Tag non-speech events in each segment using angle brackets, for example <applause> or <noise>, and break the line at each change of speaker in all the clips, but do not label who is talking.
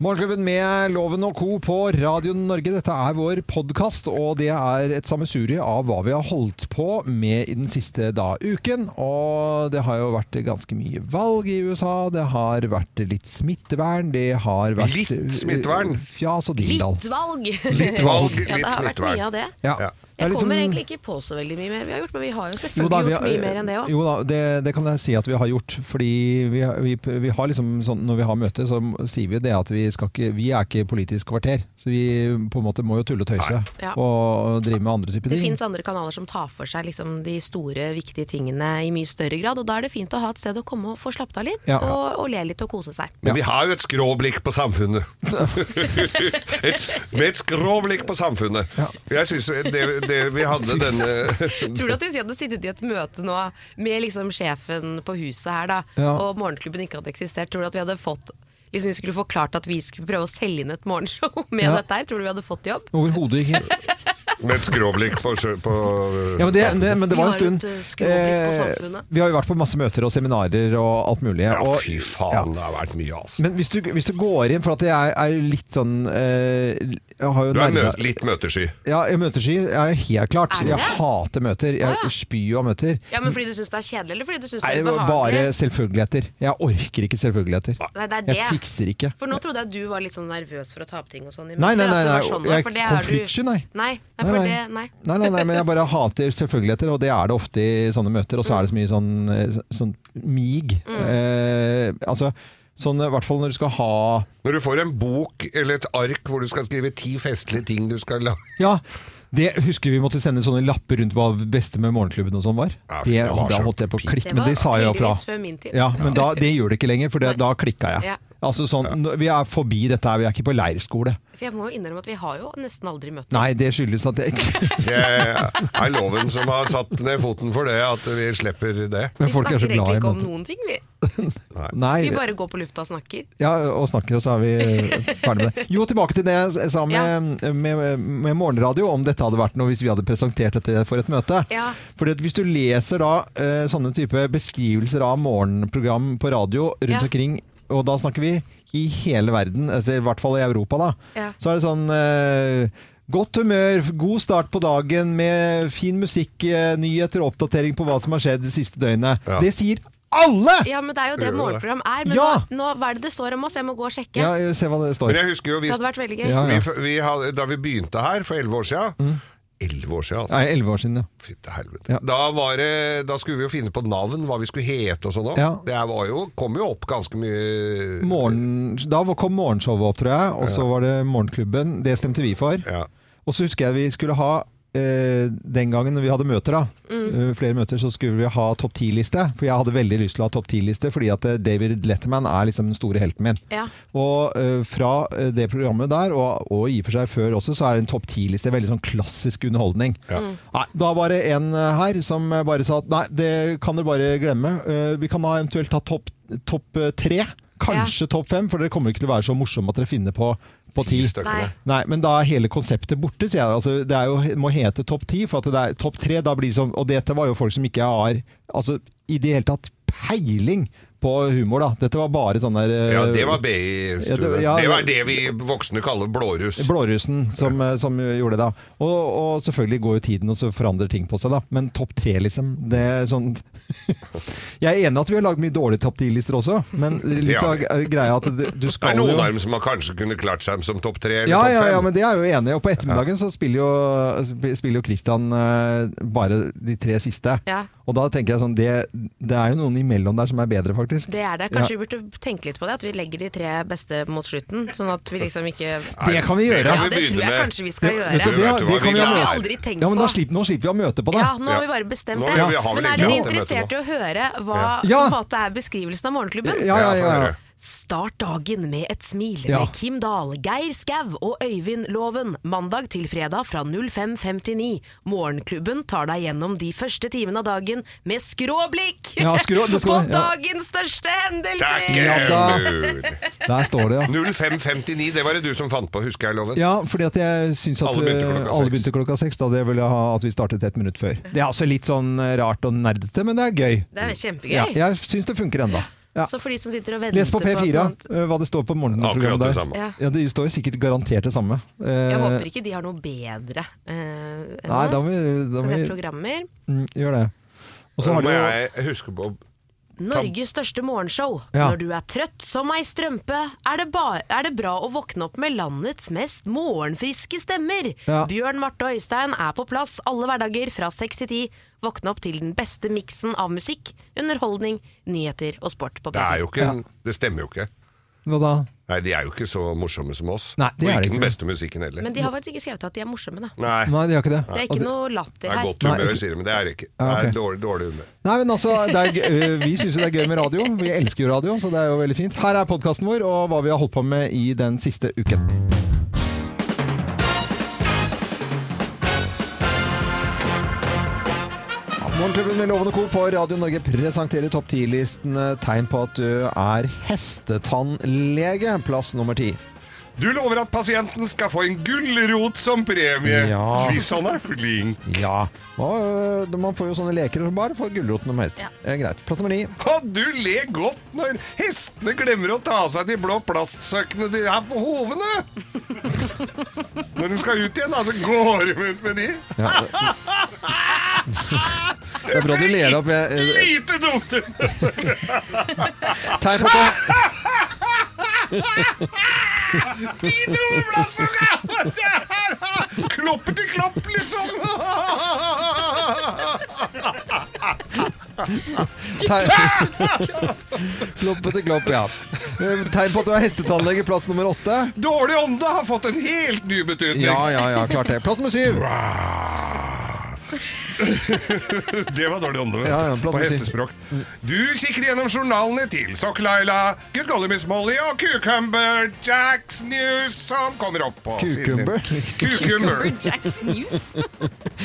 Morgenklubben med Loven og Co. på Radio Norge. Dette er vår podkast, og det er et sammensurie av hva vi har holdt på med i den siste da, uken. Og det har jo vært ganske mye valg i USA, det har vært litt smittevern, det har vært
Litt smittevern?
Fjas og dildal.
Litt valg.
Litt valg,
<laughs>
litt
ja, det har vært
smittevern.
mye av det.
Ja.
Ja.
Det er
Jeg
litt
kommer
sånn-
egentlig ikke på så veldig mye mer vi har gjort, men vi har jo
Jo
selvfølgelig
da, vi
gjort
har-
mye mer enn det òg.
Jo da, det, det kan jeg si at vi har gjort. Fordi vi, vi, vi har liksom sånn, når vi har møte, så sier vi jo det at vi, skal ikke, vi er ikke politisk kvarter. Så vi på en måte må jo tulle og tøyse
Ja.
og drive med andre typer
Det
ting.
fins andre kanaler som tar for seg liksom, de store, viktige tingene i mye større grad. Og da er det fint å ha et sted å komme og få slappet av litt,
Ja.
og, og le litt og kose seg.
Men vi har jo et skråblikk på
<laughs>
samfunnet. et, med et skråblikk på samfunnet. Jeg synes det, det vi hadde denne
Tror du at hvis vi hadde sittet i et møte nå med liksom sjefen på huset her, da,
Ja.
og morgenklubben ikke hadde eksistert, tror du at vi hadde fått Liksom Vi skulle forklart at vi skulle prøve å selge inn et morgenshow <laughs> med
Ja.
dette her. Tror du vi hadde fått jobb?
Overhodet
<laughs>
ikke.
Med et skråblikk på, sjø- på
Ja, men, det, det, men det
Vi
var en
har et,
stund.
eh, skråblikk på samfunnet.
vi har jo vært på masse møter og seminarer og alt mulig.
Ja,
og,
fy faen,
ja.
det har vært mye, altså.
Men hvis du, hvis du går inn, for at jeg er, er litt sånn eh, jeg har jo
Du er mø
nærmet-
litt møtesky.
Ja, jeg møtesky er helt klart.
Er du
Jeg
det?
hater møter. Jeg
Å, ja.
spyr jo av møter.
Ja, men Fordi du syns det er kjedelig, eller fordi du syns det
Nei,
er
det var bare
ubehagelig?
selvfølgeligheter. Jeg orker ikke selvfølgeligheter.
Nei, det er det.
Jeg fikser ikke.
For nå trodde jeg du var litt sånn nervøs for å tape ting og sånn. i
Nei, nei,
møter,
nei,
at det var
nei,
sånn,
jeg
for
er
det har du-
konfliktsky, nei.
Nei, nei,
Nei,
for
nei.
det, nei.
Nei, nei, nei, men jeg bare hater selvfølgeligheter, og det er det ofte i sånne møter. Og så er det så mye sånn, eh, sånn mig.
Mm.
Eh, altså, sånn i hvert fall når du skal ha
Når du får en bok eller et ark hvor du skal skrive ti festlige ting du skal lage <laughs>
Ja, det husker vi måtte sende sånne lapper rundt hva beste med morgenklubben og sånn var.
Ja, fy,
Det,
det var
da
så
holdt jeg på å klikke,
Det
men
var
det sa jeg jo fra.
heldigvis før min tid.
Ja, men da, det gjør det ikke lenger, for det, da klikka jeg.
Ja.
Altså sånn, nå- Vi er forbi dette her, vi er ikke på leirskole.
For jeg må jo innrømme at vi har jo nesten aldri møtt
Nei, det skyldes at jeg ikke
Det er loven som har satt ned foten for det, at vi slipper det.
Men folk
vi
er så
snakker egentlig
glad i
ikke om
møter.
noen ting, vi.
Nei,
Vi bare går på lufta og snakker.
ja, og snakker, og så er vi ferdig med det. Jo, tilbake til det jeg sa med, med, med morgenradio, om dette hadde vært noe hvis vi hadde presentert dette for et møte.
Ja.
Fordi at hvis du leser da eh, sånne type beskrivelser av morgenprogram på radio rundt
Ja.
omkring, og da snakker vi i hele verden, altså i hvert fall i Europa da,
Ja.
så er det sånn... Eh, Godt humør, god start på dagen med fin musikk, eh, nyheter og oppdatering på hva som har skjedd det siste døgnet.
Ja.
Det sier alle!
Ja, men det er jo det
Gjør vi det?
morgenprogram er. Men
Ja!
nå, nå, hva er det det står om oss? Jeg må gå og sjekke.
Ja, se hva det står.
Men jeg husker jo
Det
vi,
hadde vært veldig gøy.
Ja,
vi,
ja. Mm.
vi hadde, da vi begynte her for elleve år siden Elleve år siden, altså.
Nei, 11 år siden, ja.
Fy til helvete.
Ja.
Da, var det, da skulle vi jo finne på navn, hva vi skulle hete og sånn òg.
Ja.
Det her var jo, kom jo opp ganske mye
Morgen, da var- kom morgenshowet opp, tror jeg, og så var det Morgenklubben. Det stemte vi for.
Ja.
Og så husker jeg vi skulle ha eh, den gangen når vi hadde møter, da, eh, flere møter, så skulle vi ha topp ti-liste. For jeg hadde veldig lyst til å ha topp ti-liste, fordi at eh, David Letterman er liksom den store helten min.
Ja.
Og eh, fra eh, det programmet der, og, og i og for seg før også, så er en topp ti-liste veldig sånn klassisk underholdning. Nei, da var det en eh, her som bare sa at nei, det kan dere bare glemme. Eh, Vi kan da eventuelt ta topp topp, eh, tre, kanskje topp fem, for dere kommer ikke til å være så morsomme at dere finner på, på ti.
stykkene.
Nei.
Nei, men da er hele konseptet borte, sier jeg. Altså, det er jo, må hete topp ti, for at det er topp tre. Da blir det sånn, og dette var jo folk som ikke har altså, i det hele tatt peiling på humor, da. Dette var bare sånn der eh,
Ja, det var BI-stue.
Ja,
det,
det- ja,
var
det-
det vi voksne kaller blåruss.
Blårussen som, eh, som gjorde det, da. Og, og selvfølgelig går jo tiden, og så forandrer ting på seg, da. Men topp tre, liksom. Det er sånn <laughs> Jeg er enig at vi har lagd mye dårlige topp ti-lister også, men litt
Ja.
av eh, greia er at du, du
Det
skal
er noen
jo
av dem som har kanskje kunne klart seg som topp tre eller
Ja,
topp
ja,
fem.
ja, men det er jeg jo enig i. Og på ettermiddagen så spiller jo, sp- spiller jo Christian eh, bare de tre siste.
Ja.
Og da tenker jeg sånn det, det er jo noen imellom der som er bedre, faktisk.
Det er det. Kanskje vi burde tenke litt på det, at vi legger de tre beste mot slutten. Sånn at vi liksom ikke
Nei,
Det kan vi gjøre.
Ja,
vi
det
begynne
tror jeg
med.
kanskje vi skal
Ja,
gjøre.
vet du, det,
Vet du hva,
det
vi
kan vi
lar-
ha
Det har
møte.
jeg aldri tenkt
Ja, men da
på.
slipper, nå slipper vi å møte på det.
Ja, nå
Ja.
har vi bare bestemt
Nå
det.
har vi- har vi
Men
vel
er dere
egentlig hatt det
interessert i å høre hva
Ja.
som på en måte er beskrivelsen av morgenklubben?
Ja, ja, ja, ja.
Ja,
Start dagen med et smil
Ja.
med Kim Dahl, Geir Skau og Øyvind Loven. Mandag til fredag fra 05.59. Morgenklubben tar deg gjennom de første timene av dagen med skråblikk
Ja, skrå- det skal-
<laughs> på
ja.
dagens største
er
hendelser!
ikke
Ja da.
mulig. <laughs>
Der står det, ja.
05.59, det var det du som fant på, husker jeg loven?
Ja, fordi at jeg syns at
Alle begynte klokka
eh, alle
seks.
begynte klokka seks. Da det ville jeg ha at vi startet ett minutt før. Det er altså litt sånn eh, rart og nerdete, men det er gøy.
Det er kjempegøy.
Ja, jeg syns det funker enda. Ja.
Så for de som sitter og venter
Les på
at
P4
noen-
eh, hva det står på
Akkurat
morgenprogrammet
det
der.
samme.
Ja.
Ja, Det står jo sikkert garantert det samme. Eh,
Jeg håper ikke de har noe bedre eh, enn
Nei, da
oss.
må vi, da må
Det er
vi
programmer.
mm, gjøre det. Og så
Så
har
må
de jo
jeg huske på
Norges største morgenshow.
Ja.
Når du er trøtt som ei strømpe, er det, ba er det bra å våkne opp med landets mest morgenfriske stemmer.
Ja.
Bjørn Marte Øystein er på plass alle hverdager fra seks til ti. Våkne opp til den beste miksen av musikk, underholdning, nyheter og sport på
Det
P4.
er jo ikke Det stemmer jo ikke.
Hva da?
Nei, De er jo ikke så morsomme som oss.
Nei, det
og
er
ikke
det
den
ikke.
beste musikken heller.
Men de har faktisk ikke skrevet at de er morsomme, da.
Nei,
Nei, de har ikke det.
Det er
Og
ikke
Altså,
noe latter
det er
her. <laughs>
godt humør,
Nei,
sier de, men det er det ikke. Det
Ja, ok.
er dårlig, dårlig humør.
Nei, men altså, det er, gøy- øh, Vi syns jo det er gøy med radio. Vi elsker jo radio, så det er jo veldig fint. Her er podkasten vår og hva vi har holdt på med i den siste uken. Morgenklubben med Lovende Co. på Radio Norge presenterer topp 10-listen eh, tegn på at du er hestetannlege. Plass nummer ti.
Du lover at pasienten skal få en gulrot som premie
Ja.
hvis han er flink.
Ja. Og, øh, man får jo sånne leker som barn. Får gulroten om hest.
Ja.
Eh, Greit. Plass nummer ni.
Og du ler godt når hestene glemmer å ta av seg de blå plastsøkkene de har på
<laughs>
hovene. Når de skal ut igjen, da, så går de ut med de.
Ja, det, det er bra du ler opp. Jeg, øh, jeg,
Lite dumt!
Tegn på at
De blå plastsøkkene! Klopper til klopp, liksom.
Klopp etter klopp, ja. Eh, Tegn på at du er hestetannlege, plass nummer åtte.
Dårlig ånde har fått en helt ny betydning.
Ja, ja, ja, klart det. Plass nummer syv.
<laughs> Det var dårlig ånde. vet du.
Ja, ja, plass
På
med si.
hestespråk. Du kikker gjennom journalene til Sokk-Laila, Good Golly Miss Molly og Cucumber Jacks News som kommer opp på siden
Cucumber?
din. Cucumber.
Jacks
<laughs>
News.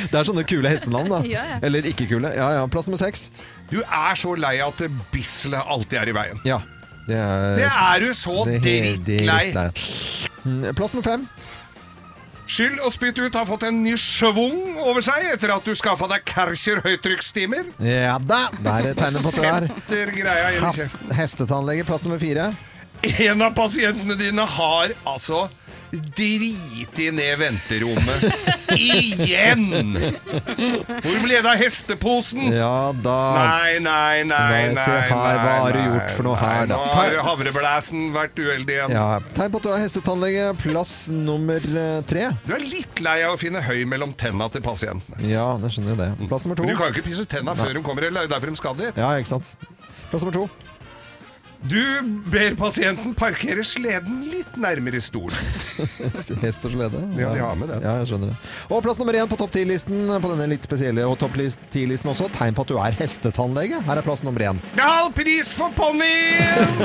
Det er sånne kule hestenavn, da.
Ja, ja.
Eller ikke kule. Ja, ja. Plass nummer seks.
Du er så lei at Bisle alltid er i veien.
Ja. Det er
Det er du så
det er- det er
drittlei.
drittlei. Mm, Plass nummer fem.
Skyld og spytt ut har fått en ny schwung over seg etter at du skaffa deg Kärcher høytrykksstimer.
Ja da! Der er tegnet på at du er
<laughs> Setter greia inn i
has- hestetannlege. Plass nummer fire.
kjeften. En av pasientene dine har altså driti ned
<laughs>
venterommet. Igjen! Hvor ble det av hesteposen?
Ja da.
Nei, nei, nei, nei,
Nei, se her, hva har du
nei,
gjort for noe her, da?
Nå har havreblæsen vært uheldig igjen.
Ja. Tegn på at du er hestetannlege. Plass nummer eh, tre.
Du er litt lei av å finne høy mellom tenna til pasientene.
Ja, jeg skjønner jo det. Plass nummer to.
Men du kan jo ikke pisse ut tenna før de kommer, eller det er jo derfor de skal dit.
Ja, ikke sant. Plass nummer
<laughs>
to.
Du ber pasienten parkere sleden litt nærmere stolen.
Hest og slede.
Ja, de har med det.
Ja, jeg skjønner det. Og plass nummer én på topp ti-listen på denne litt spesielle og topp ti-listen også. Tegn på at du er hestetannlege. Her er plass nummer én.
Det er halv pris for ponnien!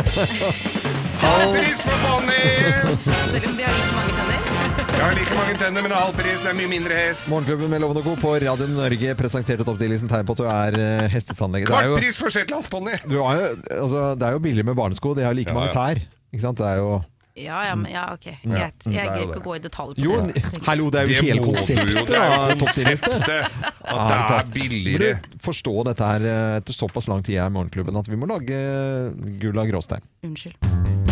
Halv pris for ponnien!
Selv om de har like mange tenner.
Jeg har like mange tenner, men det er halv pris. Det er mye mindre hest.
Morgenklubben med Loven og Co. på Radio Norge presenterte topp ti-listen tegn på at du er eh, hestetannlege. Det er
Kvart
jo,
pris for shetlandsponni.
du har jo, altså, det er jo billig med barnesko. De har like
Ja,
mange
ja.
tær. Ikke sant? Det er jo
Ja, ja, men, ja, ok, greit.
er jo
Jeg gidder
Mm. det.
ikke å gå i detalj på
Jo,
det.
n- hallo, det er jo
Det må du
hele
jo,
konseptet
det er jo
av topp ti-liste.
konseptet At det er billigere.
Må du forstå dette her eh, etter såpass lang tid jeg er i Morgenklubben at vi må lage eh, gull av gråstein.
Unnskyld.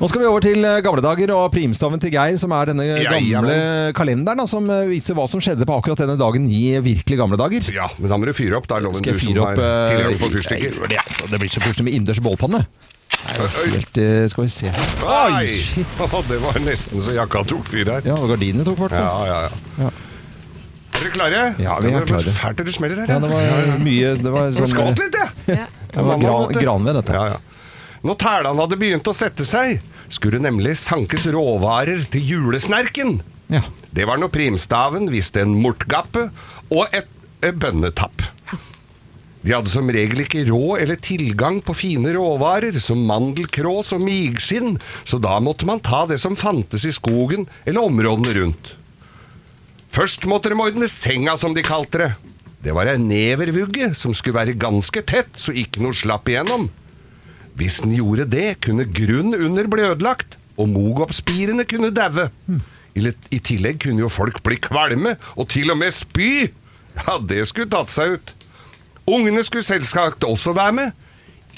Nå skal vi over til eh, gamle dager og primstaven til Geir, som er denne
Ja, ja,
gamle kalenderen da, som eh, viser hva som skjedde på akkurat denne dagen i virkelig gamle dager.
Ja, men da må du fyre opp. Da er loven
Skal
du
jeg
som
fyre
har
opp eh,
tilgang på
jeg
fyrstikker.
gjør det, altså. Det blir så plutselig med innendørs bålpanne. Det er jo Helt, eh, skal vi se
Oi! <laughs>
shit.
Det var nesten så jakka tok fyr her.
Ja, og gardinene tok sånn. i hvert fall.
Ja, ja, ja. Er dere klare?
Ja, vi er
Det
klare.
Fælt det du smeller her. Ja,
Ja, det var mye Det var,
Du
sånn,
skvatt litt, jeg.
<laughs> det var gran, granved, dette.
Ja, ja. Når tælene hadde begynt å sette seg, skulle nemlig sankes råvarer til julesnerken.
Ja.
Det var når primstaven viste en mortgappe og et, et bønnetapp. De hadde som regel ikke råd eller tilgang på fine råvarer, som mandelkrås og migskinn, så da måtte man ta det som fantes i skogen eller områdene rundt. Først måtte de ordne senga, som de kalte det. Det var ei nevervugge som skulle være ganske tett, så ikke noe slapp igjennom. Hvis den gjorde det, kunne grunn under bli ødelagt, og mogopspirene kunne daue. I litt- I tillegg kunne jo folk bli kvalme, og til og med spy! Ja, det skulle tatt seg ut. Ungene skulle selvsagt også være med.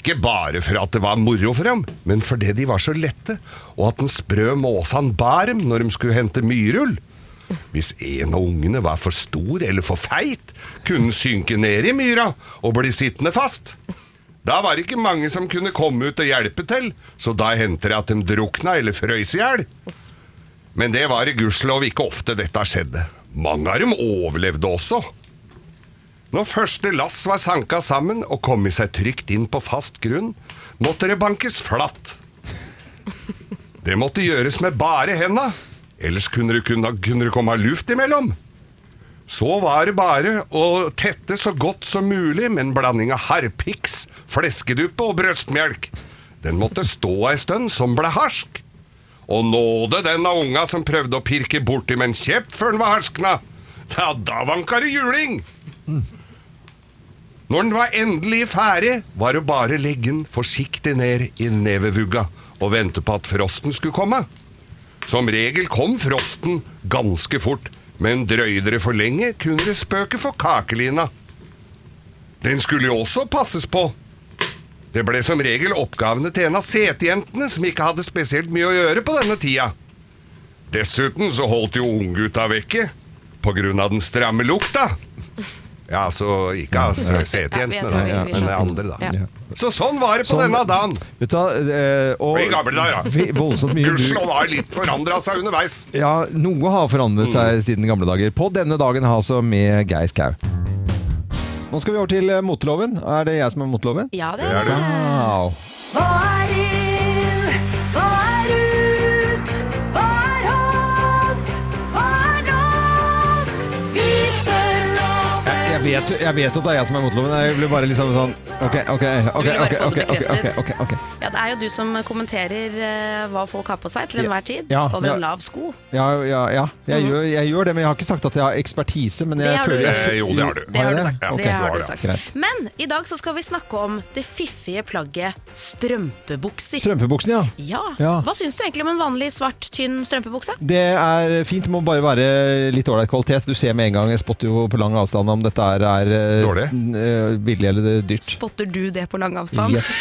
Ikke bare for at det var moro for dem, men fordi de var så lette, og at den sprø måsan bar dem når de skulle hente myrull. Hvis en av ungene var for stor eller for feit, kunne den synke ned i myra og bli sittende fast. Da var det ikke mange som kunne komme ut og hjelpe til, så da hendte det at de drukna eller frøys i hjel. Men det var i gudskjelov ikke ofte dette skjedde. Mange av dem overlevde også. Når første lass var sanka sammen og kom i seg trygt inn på fast grunn, måtte det bankes flatt. Det måtte gjøres med bare henda, ellers kunne det, kunne, kunne det komme luft imellom. Så var det bare å tette så godt som mulig med en blanding av harpiks, fleskeduppe og brøstmelk. Den måtte stå ei stund som ble harsk. Og nåde den av unga som prøvde å pirke borti med en kjepp før den var harskna. Ja, da vanka det juling! Når den var endelig ferdig, var det bare å legge den forsiktig ned i nevevugga og vente på at frosten skulle komme. Som regel kom frosten ganske fort, men drøyde det for lenge, kunne det spøke for kakelina. Den skulle jo også passes på. Det ble som regel oppgavene til en av setejentene som ikke hadde spesielt mye å gjøre på denne tida. Dessuten så holdt jo unggutta vekke, på grunn av den stramme lukta. Ja, så ikke av
Ja,
setejentene,
vi-
da,
vi- vi
men det
skjønte.
andre, da.
Ja.
Så sånn var det på
Sånn-
denne dagen.
Vet du, hva, eh, og,
I gamle dager, ja.
Vi- Voldsomt mye du-
Gudskjelov har litt forandra seg underveis.
Ja, noe har forandret
Mm.
seg siden gamle dager. På denne dagen her altså med Geir Skau. Nå skal vi over til eh, moteloven. Er det jeg som er moteloven?
Ja, det
Det
er
er
det.
det.
Wow.
Hva er inn? Hva er ut? Hva er hot? Hva er not? Vi spør
Jeg,
loven.
jeg, vet, jeg vet at det er jeg som er moteloven. Jeg blir bare liksom sånn Ok, ok, ok.
ville
ok,
bare få
ok,
det
ok, ok,
bekreftet.
ok, ok.
Ja, det er jo du som kommenterer eh, hva folk har på seg til
Ja.
enhver tid,
Ja,
over
ja.
en lav sko.
Ja, ja, ja. Jeg, gjør, jeg gjør det, men jeg har ikke sagt at jeg har ekspertise. Men jeg
Mhm. Det har
føler
du.
jeg,
Eh, jo, det har du.
Det har du
det?
sagt.
Ok,
det har
bra,
du
ja.
sagt.
Greit.
Men i dag så skal vi snakke om det fiffige plagget strømpebukser.
Strømpebuksen, ja.
Ja.
Ja.
Hva syns du egentlig om en vanlig svart, tynn strømpebukse?
Det er fint, det må bare være litt ålreit kvalitet. Du ser med en gang, jeg spotter jo på lang avstand om dette er, er eh,
Dårlig.
n- eh, billig eller det er dyrt.
Spotter du det på lang avstand?
Yes,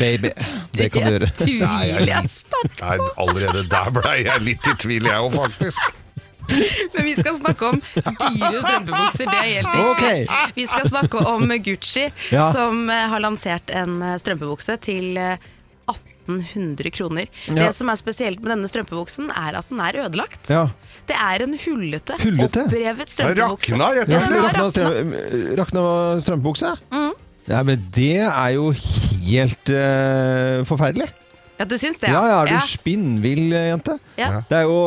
baby. Det kan du gjøre.
Tydelig, ass.
Nei, allerede der ble jeg litt i tvil, jeg òg, faktisk.
Men vi skal snakke om dyre strømpebukser, det er helt riktig.
Ok.
Vi skal snakke om Gucci,
Ja.
som eh, har lansert en eh, strømpebukse til eh, 1800 kroner.
Ja.
Det som er spesielt med denne strømpebuksen, er at den er ødelagt.
Ja.
Det er en hullete,
Hullete?
opprevet strømpebukse.
Den rakna, rett og
Ja,
Rakna-
den har
Rakna
rakna.
strøm- rakna strømpebukse? Ja, men det er jo helt eh, forferdelig.
Ja, du syns det?
Ja, ja, er du
Ja.
spinnvill, eh, jente?
Ja.
Det er jo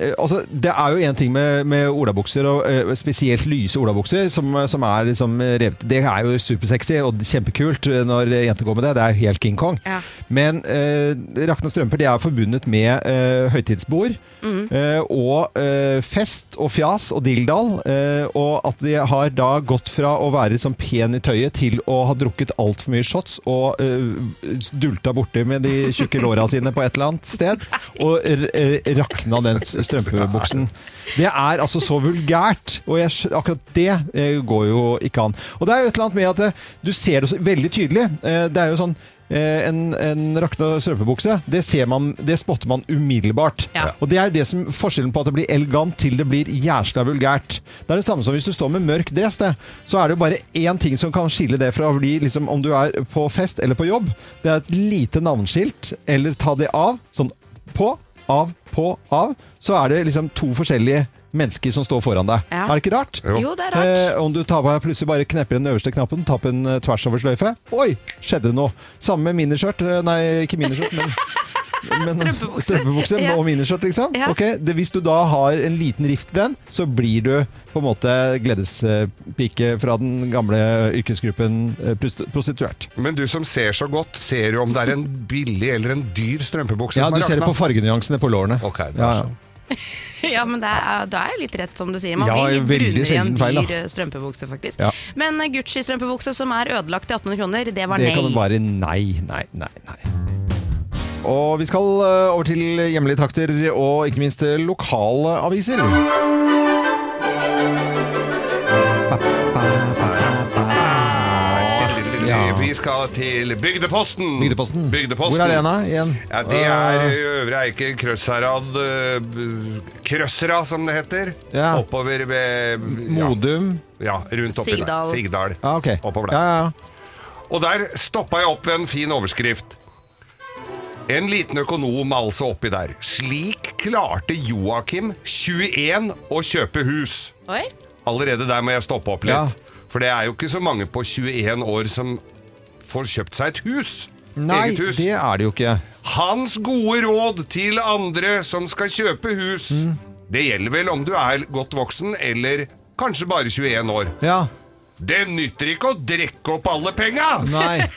eh, altså, det er jo en ting med, med olabukser, og eh, spesielt lyse olabukser, som, som er liksom eh, revet Det er jo supersexy og kjempekult eh, når jenter går med det. Det er jo helt King Kong.
Ja.
Men eh, rakne strømper de er forbundet med eh, høytidsbord eh, og eh, fest og fjas og dilldall. Eh, og at de har da gått fra å være sånn pen i tøyet til å ha drukket altfor mye shots og eh, dulta borti med de tjukke låra sine på et eller annet sted. Og r r rakna den s- strømpebuksen. Det er altså så vulgært, og jeg, skj- akkurat det eh, går jo ikke an. Og det er jo et eller annet med at eh, du ser det så veldig tydelig. Eh, det er jo sånn Eh, en, en rakna strømpebukse, det, ser man, det spotter man umiddelbart.
Ja.
Og det er det som forskjellen på at det blir elegant til det blir jæsla vulgært. Det er det samme som hvis du står med mørk dress, det. Så er det jo bare én ting som kan skille det fra å bli liksom, om du er på fest eller på jobb. Det er et lite navneskilt, eller ta det av. Sånn på, av, på, av. Så er det liksom to forskjellige mennesker som står foran deg.
Ja.
Er det ikke rart?
Jo, det er rart.
Eh, om du tar på deg plutselig bare knepper den øverste knappen, tar på den
<laughs>
eh, tvers over sløyfe. Oi, skjedde det noe? Samme med miniskjørt. Eh, Nei, ikke miniskjørt, men men-
Strømpebukse.
strømpebukse
Ja.
og miniskjørt, liksom.
Ja.
Ok, det, hvis du da har en liten rift i den, så blir du på en måte gledespike fra den gamle yrkesgruppen eh, prost- prostituert.
Men du som ser så godt, ser du om det er en billig eller en dyr strømpebukse
Ja,
som
du
har
ser det
rakna?
på fargenyansene på lårene.
Ok, det er
ja, ja.
sånn.
Ja, men det er, da er jeg litt rett, som du sier. Man
Ja,
blir
veldig
litt brunere i en
sjelden feil, da.
dyr eh, strømpebukse, faktisk.
Ja.
Men eh, Gucci-strømpebukse som er ødelagt til 1800 kroner, det var
Det
nei.
kan det være nei, nei, nei, nei. Og vi skal eh, over til hjemlige trakter, og ikke minst eh, lokale aviser. Ba, ba, ba, ba, ba. Ja.
Vi skal til Bygdeposten.
Bygdeposten.
Bygdeposten.
Hvor er det hen, da? Igjen?
Ja, det er i Øvre Eiker, Krøsherad eh, b- Krøsra, som det heter.
Ja.
Oppover ved ja,
Modum.
ja, rundt oppi
Sigdal.
der. Sigdal.
Ja, ok.
Oppover der.
Ja, ja, ja.
Og der stoppa jeg opp ved en fin overskrift. En liten økonom altså oppi der. Slik klarte Joakim, 21, å kjøpe hus.
Oi,
Allerede der må jeg stoppe opp
Ja.
litt. For det er jo ikke så mange på 21 år som får kjøpt seg et hus.
Nei,
Eget hus.
det er det jo ikke.
Hans gode råd til andre som skal kjøpe hus.
Mm.
Det gjelder vel om du er godt voksen eller kanskje bare 21 år.
Ja,
Det nytter ikke å drikke opp alle penga,
nei,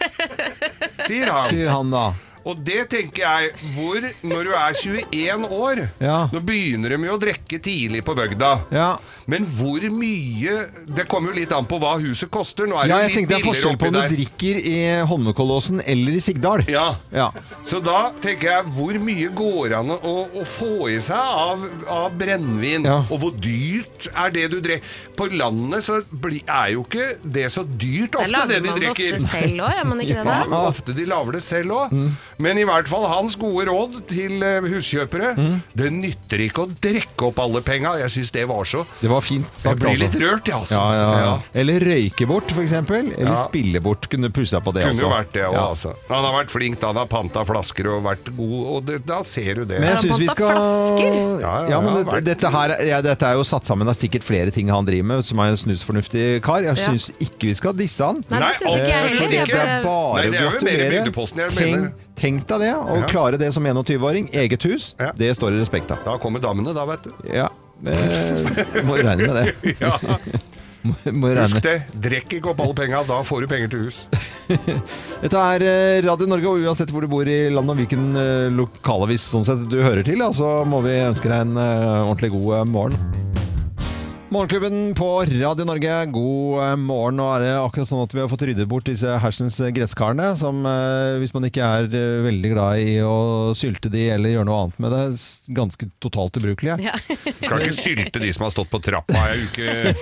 sier han.
sier han da.
Og det tenker jeg hvor når du er 21 år.
Ja.
Nå begynner de jo å drikke tidlig på bygda.
Ja.
Men hvor mye Det kommer jo litt an på hva huset koster. Nå er
Ja,
det
jeg
jo litt
tenkte det er
billigere
forskjell på
oppi
om du
der.
drikker i Holmenkollåsen eller i Sigdal.
Ja.
Ja.
Så da tenker jeg hvor mye går an å, å få i seg av, av brennevin?
Ja.
Og hvor dyrt er det du drikker? På landet så bli, er jo ikke det så dyrt
det
ofte, det
lager
de
man det ofte
drikker.
selv òg, gjør man <laughs> ikke det?
Ja,
der?
men ofte de lager det selv òg. Men i hvert fall hans gode råd til eh, huskjøpere Det nytter ikke å drikke opp alle penga. Jeg syns det var så
Det var fint
Jeg
sagt,
blir
altså.
litt rørt, jeg, altså.
Ja, ja, ja.
Ja.
Eller røyke bort, for eksempel. Eller
Ja.
spille bort. Kunne pussa på det
Kunne
også.
jo vært det òg,
Ja.
altså. Han har vært flink, da. han har panta flasker og vært god, og det, da ser du det.
Men jeg synes vi
Panta
skal
Ja,
flasker?
ja,
Ja,
ja,
men det,
vært-
dette, her, ja, dette er jo satt sammen av sikkert flere ting han driver med, som er en snusfornuftig kar. Jeg
Ja.
syns ikke vi skal disse han.
Nei,
Nei,
det synes ikke jeg
absolutt
heller.
Fordi
Jeg
det er
bare-
bare
Nei, det er
å
jo mer i Bygdeposten,
gratulere.
jeg mener.
Tenk, tenk deg det, å
Ja.
klare det som 21-åring. Eget hus,
Ja.
det står det respekt av.
Da kommer damene, da, vet
<laughs>
du.
Ja, eh, må regne med det.
<laughs> Ja,
Må regne.
husk det. Drikk ikke opp alle penga, da får du penger til hus.
Dette er eh, Radio Norge, og uansett hvor du bor i landet og hvilken eh, lokalavis sånn sett du hører til, da, så må vi ønske deg en eh, ordentlig god eh, morgen. Morgenklubben på Radio Norge, god eh, morgen. Nå er det akkurat sånn at vi har fått ryddet bort disse hersens eh, gresskarene, som eh, hvis man ikke er eh, veldig glad i å sylte de eller gjøre noe annet med det, s- ganske totalt ubrukelige.
Skal
<laughs>
ikke sylte de som har stått på trappa ei uke,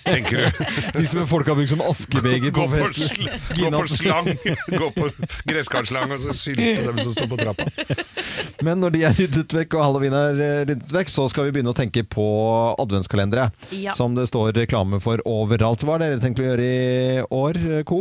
tenker du.
De som folk har brukt som askebeger
Gå
på
på,
festen. <laughs>
sl gå på slang, <laughs> gå på gresskartslang og så sylte dem som står på
<laughs>
trappa.
Men når de er ryddet vekk, og halloween er eh, ryddet vekk, så skal vi begynne å tenke på adventskalendere.
Ja.
Som det står reklame for overalt. Hva har dere tenkt å gjøre i år, eh, Co?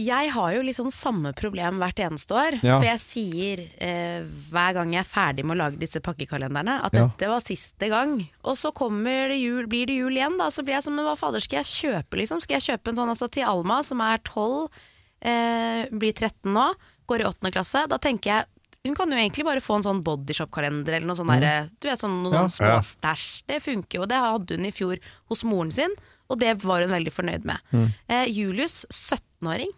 Jeg har jo litt sånn samme problem hvert eneste år.
Ja.
For jeg sier eh, hver gang jeg er ferdig med å lage disse pakkekalenderne, at
Ja.
dette var siste gang. Og så kommer det jul, blir det jul igjen, da. Så blir jeg som men hva fader skal jeg kjøpe, liksom? Skal jeg kjøpe en sånn altså, til Alma, som er 12, eh, blir 13 nå, går i 8. klasse? Da tenker jeg hun kan jo egentlig bare få en sånn bodyshop-kalender eller noe sånn derre Du vet sånn
Mm.
noen
Ja.
sånne små
Ja.
stæsj. Det funker jo, det hadde hun i fjor hos moren sin, og det var hun veldig fornøyd med.
Mm.
Eh, Julius, 17-åring.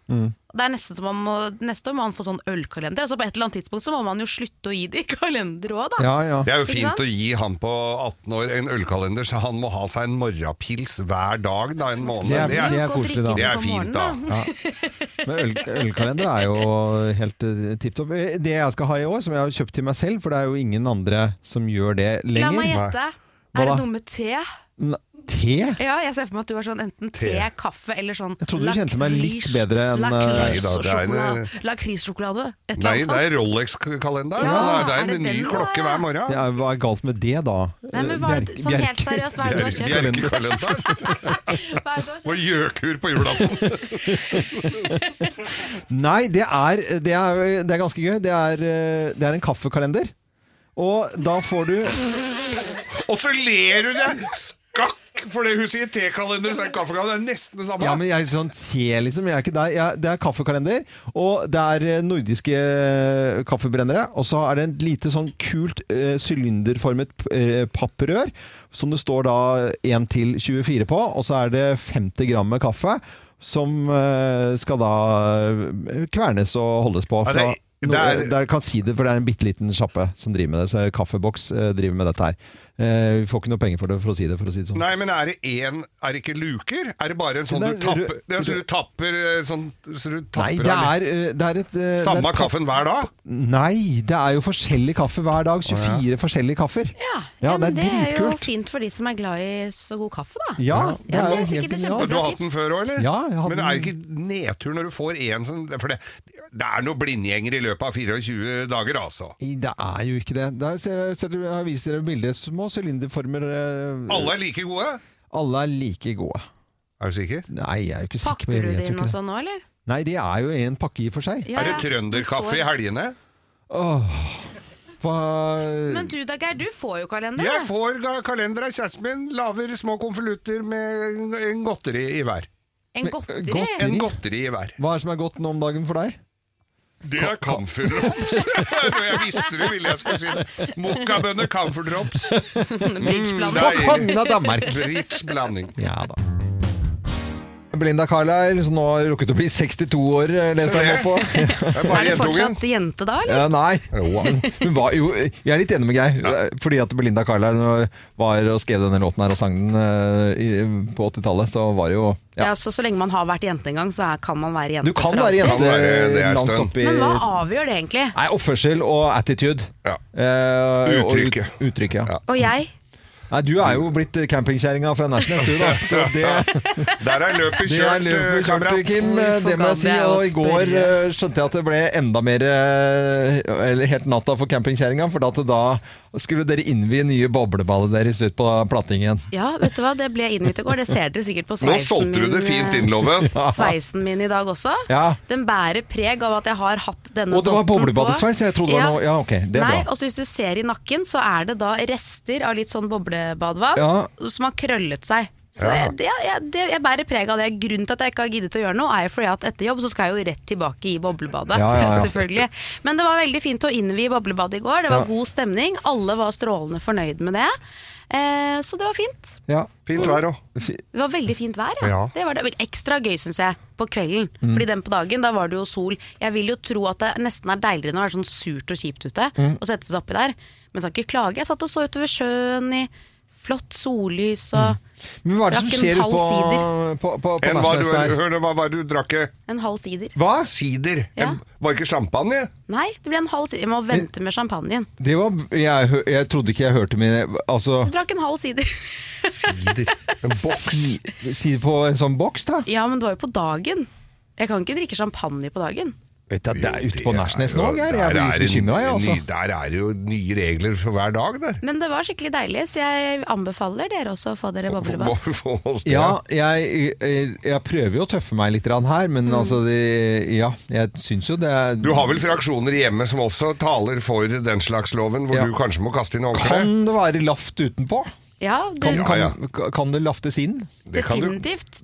Det er nesten som man må, Neste år må han få sånn ølkalender. Altså På et eller annet tidspunkt så må man jo slutte å gi de <laughs> kalender òg, da.
Ja, ja.
Det er jo
Ikke sant?
fint å gi han på 18 år en ølkalender, så han må ha seg en morgenpils hver dag da, en måned.
Det er-
Det er,
det
Gå
er
og
koselig, da.
drikke
det
på
er fint,
morgenen,
da.
Men øl, ølkalender er jo helt eh, tipp topp. Eh, Det jeg skal ha i år, som jeg har kjøpt til meg selv, for det er jo ingen andre som gjør det
La
lenger
meg gjette.
Hva
Er
da?
det noe med te?
N- Te?
Ja, jeg ser for meg at du er sånn enten te, kaffe eller sånn
Jeg trodde du kjente meg litt bedre enn, eh,
Nei da, det er en- eh,
Lakrissjokolade. Lakrissjokolade. Et
Nei,
eller annet
det
sånt.
er Rolex-kalender.
Ja,
det er
er
en
det
ny
den da?
klokke hver
Det
morgen.
er, hva er galt med det, da?
Nei, men hva, er det- sånn helt seriøst, hva er det du har kjøpt?
Bjerkekalender
Hva er det du har kjøpt?
og gjøkur på
<laughs>
julaften.
Nei, det er, det er, det er ganske gøy. Det er, eh, det er en kaffekalender. Og da får du
Og så ler du deg skakk Fordi hun sier tekalender, så er kaffekalender det er nesten det samme.
Ja, men jeg er sånn te, liksom. Jeg er ikke der. Jeg, det er kaffekalender, og det er eh, nordiske eh, kaffebrennere. Og så er det en lite sånn kult eh, sylinderformet eh, papprør, som det står da 1 til 24 på. Og så er det 50 gram med kaffe, som eh, skal da eh, kvernes og holdes på.
Ja,
Fra,
det- det er-
Nor- der kan si det, for det er en bitte liten sjappe som driver med det. Så Kaffeboks eh, driver med dette her. Eh, vi får ikke noe penger for det, for å si det, for å si det sånn.
Nei, men er det én Er det ikke luker? Er det bare en sånn
Nei,
du tapper
rød-
det er Så du tapper eh, sånn så du
Nei,
tapper
det
av litt-
er, eh, det er et eh, det er
Samme
et papp-
kaffen hver dag?
Nei, det er jo forskjellig kaffe hver dag. 24 forskjellige kaffer.
Ja,
Ja, det
men
er
det er jo
dritkult.
fint for de som er glad i så god kaffe,
Ja,
da.
det
Ja,
er
det
jo
er
helt
sikkert et
genialt.
Du har hatt den før òg, eller?
Ja, jeg hadde
men det er
den.
ikke nedtur når du får én som For det, det er noen blindgjenger i løpet av 24 dager, altså.
I- Det er jo ikke det. Der ser, ser, jeg har vist dere bilder. Små sylinderformer. eh,
Alle er like gode.
Alle er like gode.
Er du sikker?
Nei, jeg er jo ikke sikker.
Pakker
men jeg
du det
vet jo
inn
ikke
og
det.
sånn nå, eller?
Nei, de er jo en pakke i og for seg.
Ja,
Er det
ja.
trønderkaffe
Den
i
står-
helgene?
Hva
Men du da, Geir, du får jo kalender.
Jeg
da.
får ga- kalender av kjæresten min, lager små konvolutter med en- en godteri i hver.
En godteri.
Godteri?
En godteri i hver.
hva er det som er godt nå om dagen for deg?
Det er <laughs> camferdrops! Når jeg visste det, ville jeg skulle si det. Mokkabønner, camferdrops.
Bridgeblanding.
Nei.
Kongen av Danmark!
Brits blanding.
Ja da. Blinda Carlisle, som nå har rukket å bli 62 år, eh, leste jeg nå på. <laughs>
Det er
Er
bare
du
jentungen.
fortsatt jente da, eller?
Ja, nei.
Jo,
Men Hun var jo, jeg er litt enig med Geir. Fordi at Belinda Carlisle var og skrev denne låten her og sang den eh, i- på 80-tallet, så var det jo ja.
Ja. så, så lenge man har vært jente en gang, så er, kan man være jente.
Du kan
for
være jente
alltid.
være- det er
langt
stønn.
oppi
Men hva
Nei,
avgjør det egentlig?
oppførsel og attitude.
Ja.
Eh, og ut-
Uttrykket.
uttrykket ja.
Ja.
Og jeg?
Nei, du er jo blitt campingkjerringa fra National, du,
<laughs>
da. Så det
Der er løpet
Det er
kjørt, eh,
løpet kjørt,
kamerat.
Kim. eh, Det må jeg si. Og i går eh, skjønte jeg at det ble enda mer eh, Eller helt natta for campingkjerringa, for at da skulle dere innvie nye bobleballer deres ut på plattingen.
Ja, vet du hva, det ble innvitt i går. Det ser dere sikkert på
Nå
sveisen
solgte du
min,
det fint
eh,
inn,
<laughs>
Loven.
sveisen min i dag også.
Ja.
Den bærer preg av at jeg har hatt denne
Og det var
dotten på.
boblebadesveis, jeg trodde det var noe- ja, ok, det er
Nei,
bra.
Og så hvis du ser i nakken, så er det da rester av litt sånn boblebadvann
Ja.
som har krøllet seg. Så
Ja.
jeg, det, jeg, det, jeg bærer preg av det. Grunnen til at jeg ikke har giddet å gjøre noe, er jo fordi at etter jobb så skal jeg jo rett tilbake i boblebadet.
Ja, ja, ja.
<laughs> Selvfølgelig. Men det var veldig fint å innvie boblebadet i går. Det var
Ja.
god stemning. Alle var strålende fornøyd med det. Eh, så det var fint.
Ja.
Fint vær òg.
Fi-
Det var veldig fint vær, ja. Mm.
Ja.
Det var det. Vel, Ekstra gøy, syns jeg, på kvelden. Fordi den på dagen, da var det jo sol. Jeg vil jo tro at det nesten er deiligere når det er sånn surt og kjipt ute, å sette seg oppi der. Men skal ikke klage. Jeg satt og så utover sjøen i flott sollys og
Men hva er det som
Drakk en
skjer ute
halv
på,
sider.
på, på, på
Hva
Nationals der?
var det du drakk? eh?
en halv sider.
Hva?
Sider.
Ja.
En- Var ikke champagne?
Nei, det ble en halv sider. Jeg må vente med champagnen.
Det var, jeg, hø- jeg trodde ikke jeg hørte mine Altså
Jeg drakk en halv sider. <laughs>
Sider. En boks.
si, si det på en sånn boks, da?
Ja, men det var jo på dagen. Jeg kan ikke drikke champagne på dagen.
Vet du, Det er ute på
Det er
Nationals
jo-
nå, Geir.
der
Jeg blir
er
litt
en-
bekymra, jeg,
en
altså.
ny- Der er det jo nye regler for hver dag, der.
Men det var skikkelig deilig, så jeg anbefaler dere også å få dere boblebad.
Må vi få oss det?
Ja, jeg, jeg, jeg prøver jo å tøffe meg litt grann her, men altså det, Ja, jeg syns jo det er
Mm. Du har vel fraksjoner hjemme som også taler for den slags loven, hvor
Ja.
du kanskje må kaste inn håndkleet?
Kan det være laft utenpå?
Ja, du,
Kan,
Ja, ja.
kan, kan det laftes inn?
Det kan du-
Definitivt.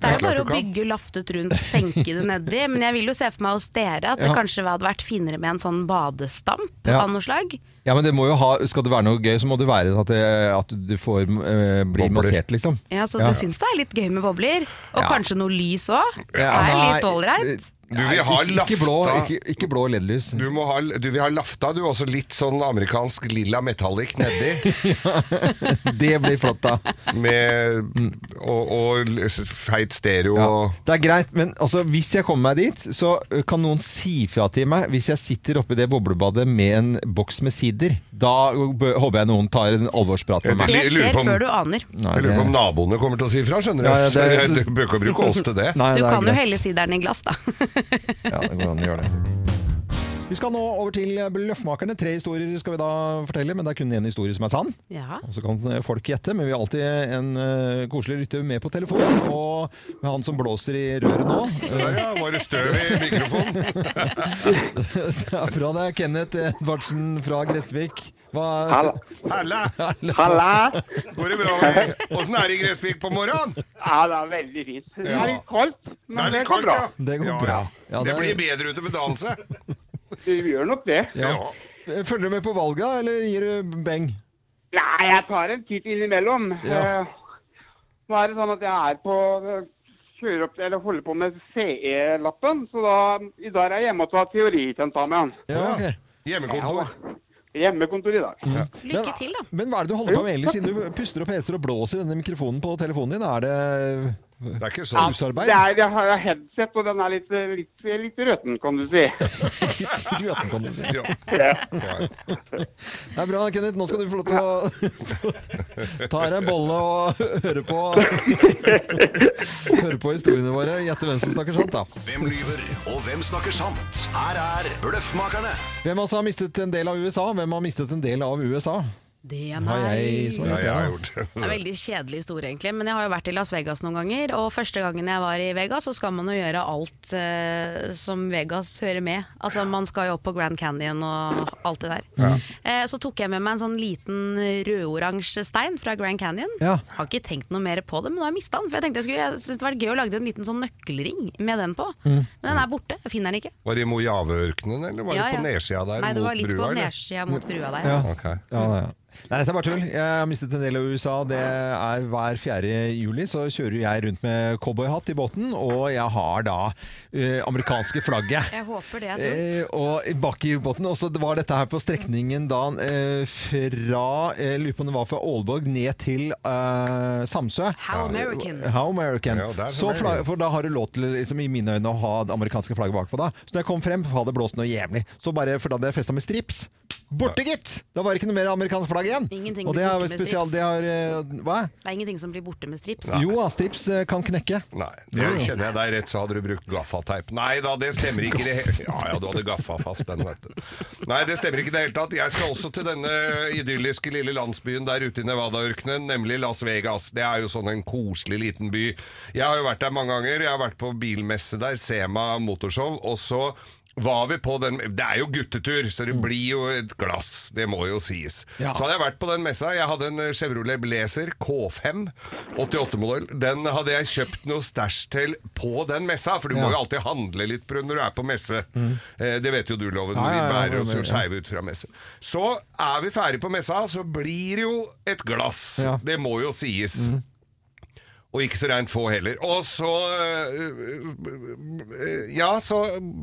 Det
Det er
er
jo
klart
bare
du
å
kan.
bygge laftet rundt, senke det nedi. Men jeg vil jo se for meg hos dere at det
Ja.
kanskje hadde vært finere med en sånn badestamp
Ja.
av noe slag.
Ja, men det må jo ha, Skal det være noe gøy, så må det være at, det, at du får eh, bli
Bobler.
massert, liksom.
Ja, Så
Ja.
du syns det er litt gøy med bobler? Og
Ja.
kanskje noe lys òg? Det
Ja,
er
nei,
litt ålreit.
Du vil ha
Eh, ikke, ikke blå,
lafta.
ikke, ikke blå LED-lys.
Du, må ha, du vil ha lafta, du. Også litt sånn amerikansk lilla metallic
<laughs>
nedi.
Det blir flott, da.
Med, og, og s- feit stereo
Ja.
og
Det er greit, men altså, hvis jeg kommer meg dit, så ø, kan noen si fra til meg hvis jeg sitter oppi det boblebadet med en boks med sider. Da bø- håper jeg noen tar en alvorsprat med meg.
Det
Jeg lurer
skjer
på om-
før du aner.
Nei,
Jeg lurer på om naboene kommer til å si fra, skjønner du.
Ja, ja, det
Så
er-
jeg- <laughs> Du bør ikke bruke oss til det.
Nei,
Du
det er
kan jo
greit.
helle sideren i glass, da.
Ja, det går an å gjøre det. Vi skal nå over til Bløffmakerne. Tre historier skal vi da fortelle, men det er kun én historie som er sann.
Ja.
Og så kan folk gjette, men vi har alltid en eh, koselig lytter med på telefonen. Og med han som blåser i røret <laughs> nå. eh,
Ja, var det støv i mikrofonen?
det er fra deg, Kenneth Edvardsen fra Gressvik. Hva,
Halla.
<laughs>
Halla!
Halla!
Går det bra med deg? Åssen er det i Gressvik på morgenen?
Ja, det er veldig fint. Det er litt kaldt, men det
litt
går
kaldt,
bra.
ja.
Det går
Ja,
bra.
Ja,
Ja,
det
det-
blir bedre utover dagen, se.
Vi gjør nok det.
ja.
Ja.
Følger du med på valga, eller gir du beng?
Nei, jeg tar en titt innimellom.
Ja.
Eh, Nå er det sånn at jeg er på kjører opp, eller holder på med CE-lappen, så da, i dag er jeg hjemme og tar teoritentamen.
Ja, ok.
Hjemmekontor.
Hjemmekontor i dag.
Mm,
Lykke til, da.
Men hva er det du holder på med egentlig, siden du puster og peser og blåser i denne mikrofonen på telefonen din? Er det <laughs>
Det er ikke
Ja.
sånn.
husarbeid?
Det er, jeg har headset, og den er litt, litt, litt røten, kan du si. <laughs>
Grøten, kan du si.
Ja. Ja.
Det er bra, Kenneth. Nå skal du få lov til å <laughs> ta deg en bolle og høre på Høre på historiene våre. Gjette hvem som snakker sant, da.
Hvem lyver, og hvem snakker sant? Her er Bløffmakerne.
Hvem av oss har mistet en del av USA? Hvem har mistet en del av USA?
Det er
Har jeg som
meg.
ja,
har gjort
jeg har
det?
gjort
Det er en
det.
veldig kjedelig historie, egentlig. Men jeg har jo vært i Las Vegas noen ganger. Og første gangen jeg var i Vegas, så skal man jo gjøre alt eh, som Vegas hører med. Altså, man skal jo opp på Grand Canyon og alt det der. Eh, så tok jeg med meg en sånn liten rødoransje stein fra Grand Canyon.
Ja.
Har ikke tenkt noe mer på det, men nå har jeg mista den. For jeg tenkte jeg skulle, jeg syntes det var gøy å lage en liten sånn nøkkelring med den på.
Mm.
Men den er borte. Jeg finner den ikke.
Var det i Mojaveørkenen, eller var det
Ja, ja.
på nedsida der?
Nei, det
mot
var litt
brua,
på
eller?
nedsida mot brua der.
Ja.
Ok.
Ja, ja, ja. Nei, dette er bare tull. Jeg har mistet en del av USA. Det er Hver 4. juli så kjører jeg rundt med cowboyhatt i båten, og jeg har da eh, amerikanske flagget.
Jeg håper det, jeg tror.
Eh, og bak i båten, og så det var dette her på strekningen da eh, fra eh, Lurer på om det var fra Aalborg ned til eh, Samsø.
How American.
How American.
Ja, det er
så
American.
flagg, for da har du lov til liksom, i mine øyne å ha det amerikanske flagget bakpå da. Så da jeg kom frem, faen, det blåste noe jævlig. Så bare, for da hadde jeg festa med strips. Borte, gitt! Da var det ikke noe mer amerikansk flagg igjen.
Ingenting
og det
blir
er jo
borte med
spesial,
strips.
det har eh, Hva?
Det er ingenting som blir borte med strips.
Jo da, strips eh, kan knekke.
Nei, det kjenner jeg deg rett, så hadde du brukt gaffateip. Nei da, det stemmer ikke i det hele Ja ja, du hadde gaffa fast den, vet du. Nei, det stemmer ikke i det hele tatt. Jeg skal også til denne idylliske lille landsbyen der ute i Nevada-ørkenen, nemlig Las Vegas. Det er jo sånn en koselig liten by. Jeg har jo vært der mange ganger. Jeg har vært på bilmesse der, Sema motorshow, og så var vi på den Det er jo guttetur, så det blir jo et glass. Det må jo sies.
Ja.
Så hadde jeg vært på den messa. Jeg hadde en eh, Chevrolet Blazer K5, 88-modell. Den hadde jeg kjøpt noe stæsj til på den messa, for du må jo alltid handle litt Brun, når du er på messe. Eh, det vet jo du, Loven.
Mm. Ja, ja, ja,
vi bærer oss
ja.
jo skeive ut fra messe. Så er vi ferdig på messa, så blir det jo et glass.
Ja. Mm.
Det må jo sies. Og ikke så reint få heller. Og så eh, øh, øh, Ja, så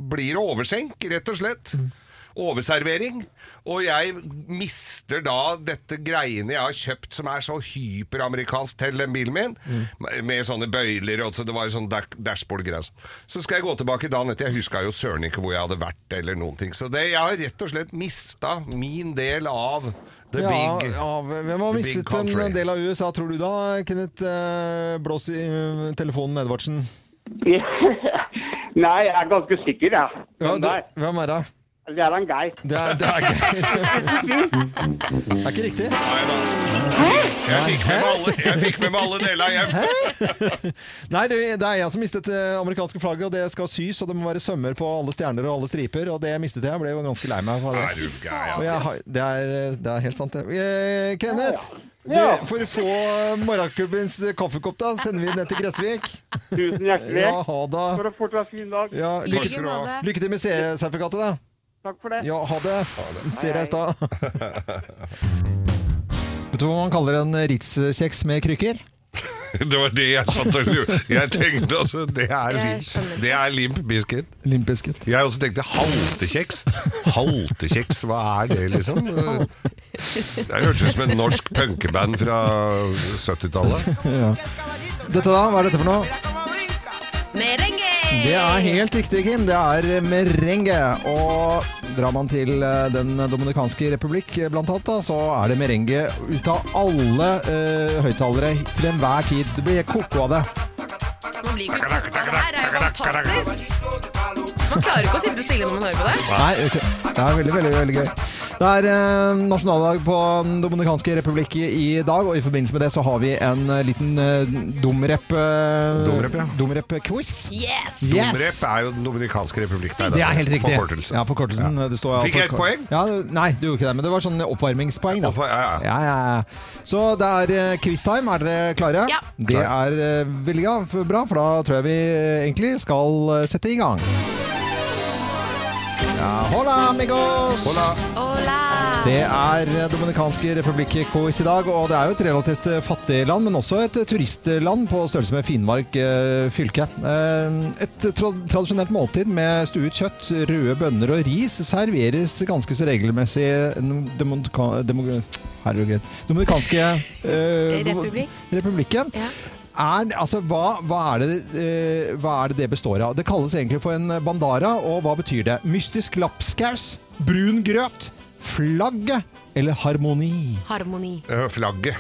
blir det overskjenk, rett og slett. Overservering. Og jeg mister da dette greiene jeg har kjøpt som er så hyperamerikansk til den bilen min, med sånne bøyler og så det var jo sånn dash- dashboard-greier. Så skal jeg gå tilbake dagen etter. Jeg huska jo søren ikke hvor jeg hadde vært, eller noen ting. Så det, jeg har rett og slett mista min del av the
Ja,
big
ja, hvem har
the
mistet
big country.
en del av USA, tror du da, Kenneth? eh, Blås i eh, telefonen, Edvardsen.
Nei, jeg er ganske sikker, jeg.
Ja,
Men
du,
nei,
hvem er det?
Det er en geir.
Det er, det er, <laughs> det er ikke riktig.
Nei da. Jeg fikk med meg alle, jeg fikk med meg alle delene hjem.
Nei, det det er jeg som mistet det amerikanske flagget, og det skal sys, og det må være sømmer på alle stjerner og alle striper, og det mistet jeg. Jeg ble jo ganske lei meg. for
Er
det.
du
Og
gæren?
jeg har, det, er, det er helt sant, det. Eh, Kenneth, du,
Ja.
for å få morgenklubbens kaffekopp, da, sender vi den ned til Gressvik.
Tusen hjertelig.
Ja, ha det.
For å fortsatt fin dag.
Ja,
I
lykke,
like måte.
lykke til med sertifikatet, da.
Takk for det.
Ja, ha det. Ser deg i stad. <laughs> Vet du hva man kaller en Ritz-kjeks med krykker?
Det var det jeg satt og lurte Jeg tenkte altså Det er
Jeg
limp,
skjønner.
det er limp biscuit.
Limpbiscuit.
Jeg også tenkte haltekjeks. Haltekjeks, hva er det, liksom? Det hørtes ut som en norsk punkeband fra 70-tallet.
Dette da, hva er dette for noe?
Merengue!
Det er helt riktig, Kim. Det er merengue. Og drar man til eh, Den dominikanske republikk, eh, blant annet, da, så er det merengue ut av alle uh, høyttalere til enhver tid. Det blir koko av det.
Man blir ikke koko av det her, det er jo fantastisk! Man klarer ikke å sitte stille når man hører på det.
Nei, ok. det er veldig, veldig, veldig gøy. Det er eh, nasjonaldag på Den dominikanske republikk i i dag, og i forbindelse med det så har vi en eh, liten eh, domrep... Eh,
Domrep, ja.
quiz
Yes!
Yes!
Rep er jo Den dominikanske republikk. nei,
Det er helt riktig.
Forkortelse.
Ja, forkortelsen. Det står,
Fikk jeg et poeng?
Ja, nei, du gjorde ikke det, men det var sånn oppvarmingspoeng. da.
Oppvar- ja, ja.
ja, ja. Så det er eh, quiztime. Er dere klare?
Ja.
Det er eh, veldig ga- f- bra, for da tror jeg vi eh, egentlig skal eh, sette i gang. Ja, hola, amigos!
Hola.
Hola!
Det er Dominikanske republikk-quiz i dag, og det er jo et relativt eh, fattig land, men også et eh, turistland på størrelse med Finnmark eh, fylke. Eh, Et tra tradisjonelt måltid med stuet kjøtt, røde bønner og ris serveres ganske så regelmessig i Dominika Demo- Herregud. Dominikanske eh,
Republikk.
republikken.
Ja.
Er, altså, hva, hva, er det, eh, hva er det det består av? Det kalles egentlig for en bandara, og hva betyr det? Mystisk lapskaus, brun grøt, flagget eller harmoni?
Harmoni.
Eh, Flagget.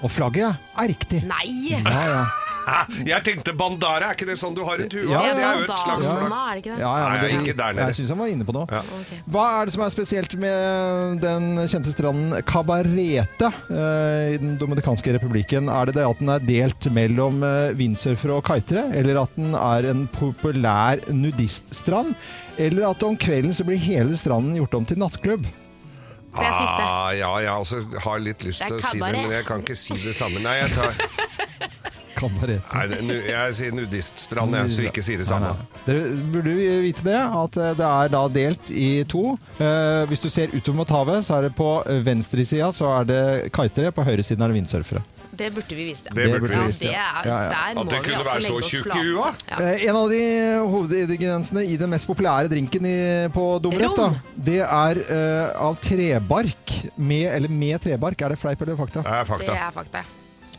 Og flagget er riktig.
Nei!
Ja, ja.
Hæ? Jeg tenkte bandara, er ikke det sånn du har rundt huet?
Ja,
det er jo et
Bandana,
slags flagg.
er det ikke det?
Ja, ja, men
Nei,
det-
ikke der nede.
Jeg syns han var inne på noe.
Ja.
Ok.
Hva er det som er spesielt med den kjente stranden Cabarete eh, i Den dominikanske republikken? Er det det at den er delt mellom eh, windsurfere og kitere? Eller at den er en populær nudiststrand? Eller at om kvelden så blir hele stranden gjort om til nattklubb?
Det er siste.
Ah, ja, jeg også har litt lyst
Det
til
er
å si det,
kabaret.
men jeg kan ikke si det samme. Nei, jeg, tar,
Cabarete.
nei, det- nu- jeg sier nudiststrand, jeg, så ikke si det samme.
Nei, nei. Dere burde jo vite det, at eh, det er da delt i to. Eh, hvis du ser utover mot havet, så er det på venstre sida så er det kitere, på høyre siden er det windsurfere.
Det burde vi visst, ja.
Det burde vi
ja,
visst.
det
ja.
er,
Ja, ja.
Der må
At det
vi
kunne
altså
være så
legge oss
tjukk i
flate.
huet.
Ja.
Eh, En av de hovedingrediensene i den mest populære drinken i, på Domerep, da,
Rom.
det er eh, av trebark. Med, eller med trebark, er det fleip eller fakta?
Det er
Det
fakta.
er fakta.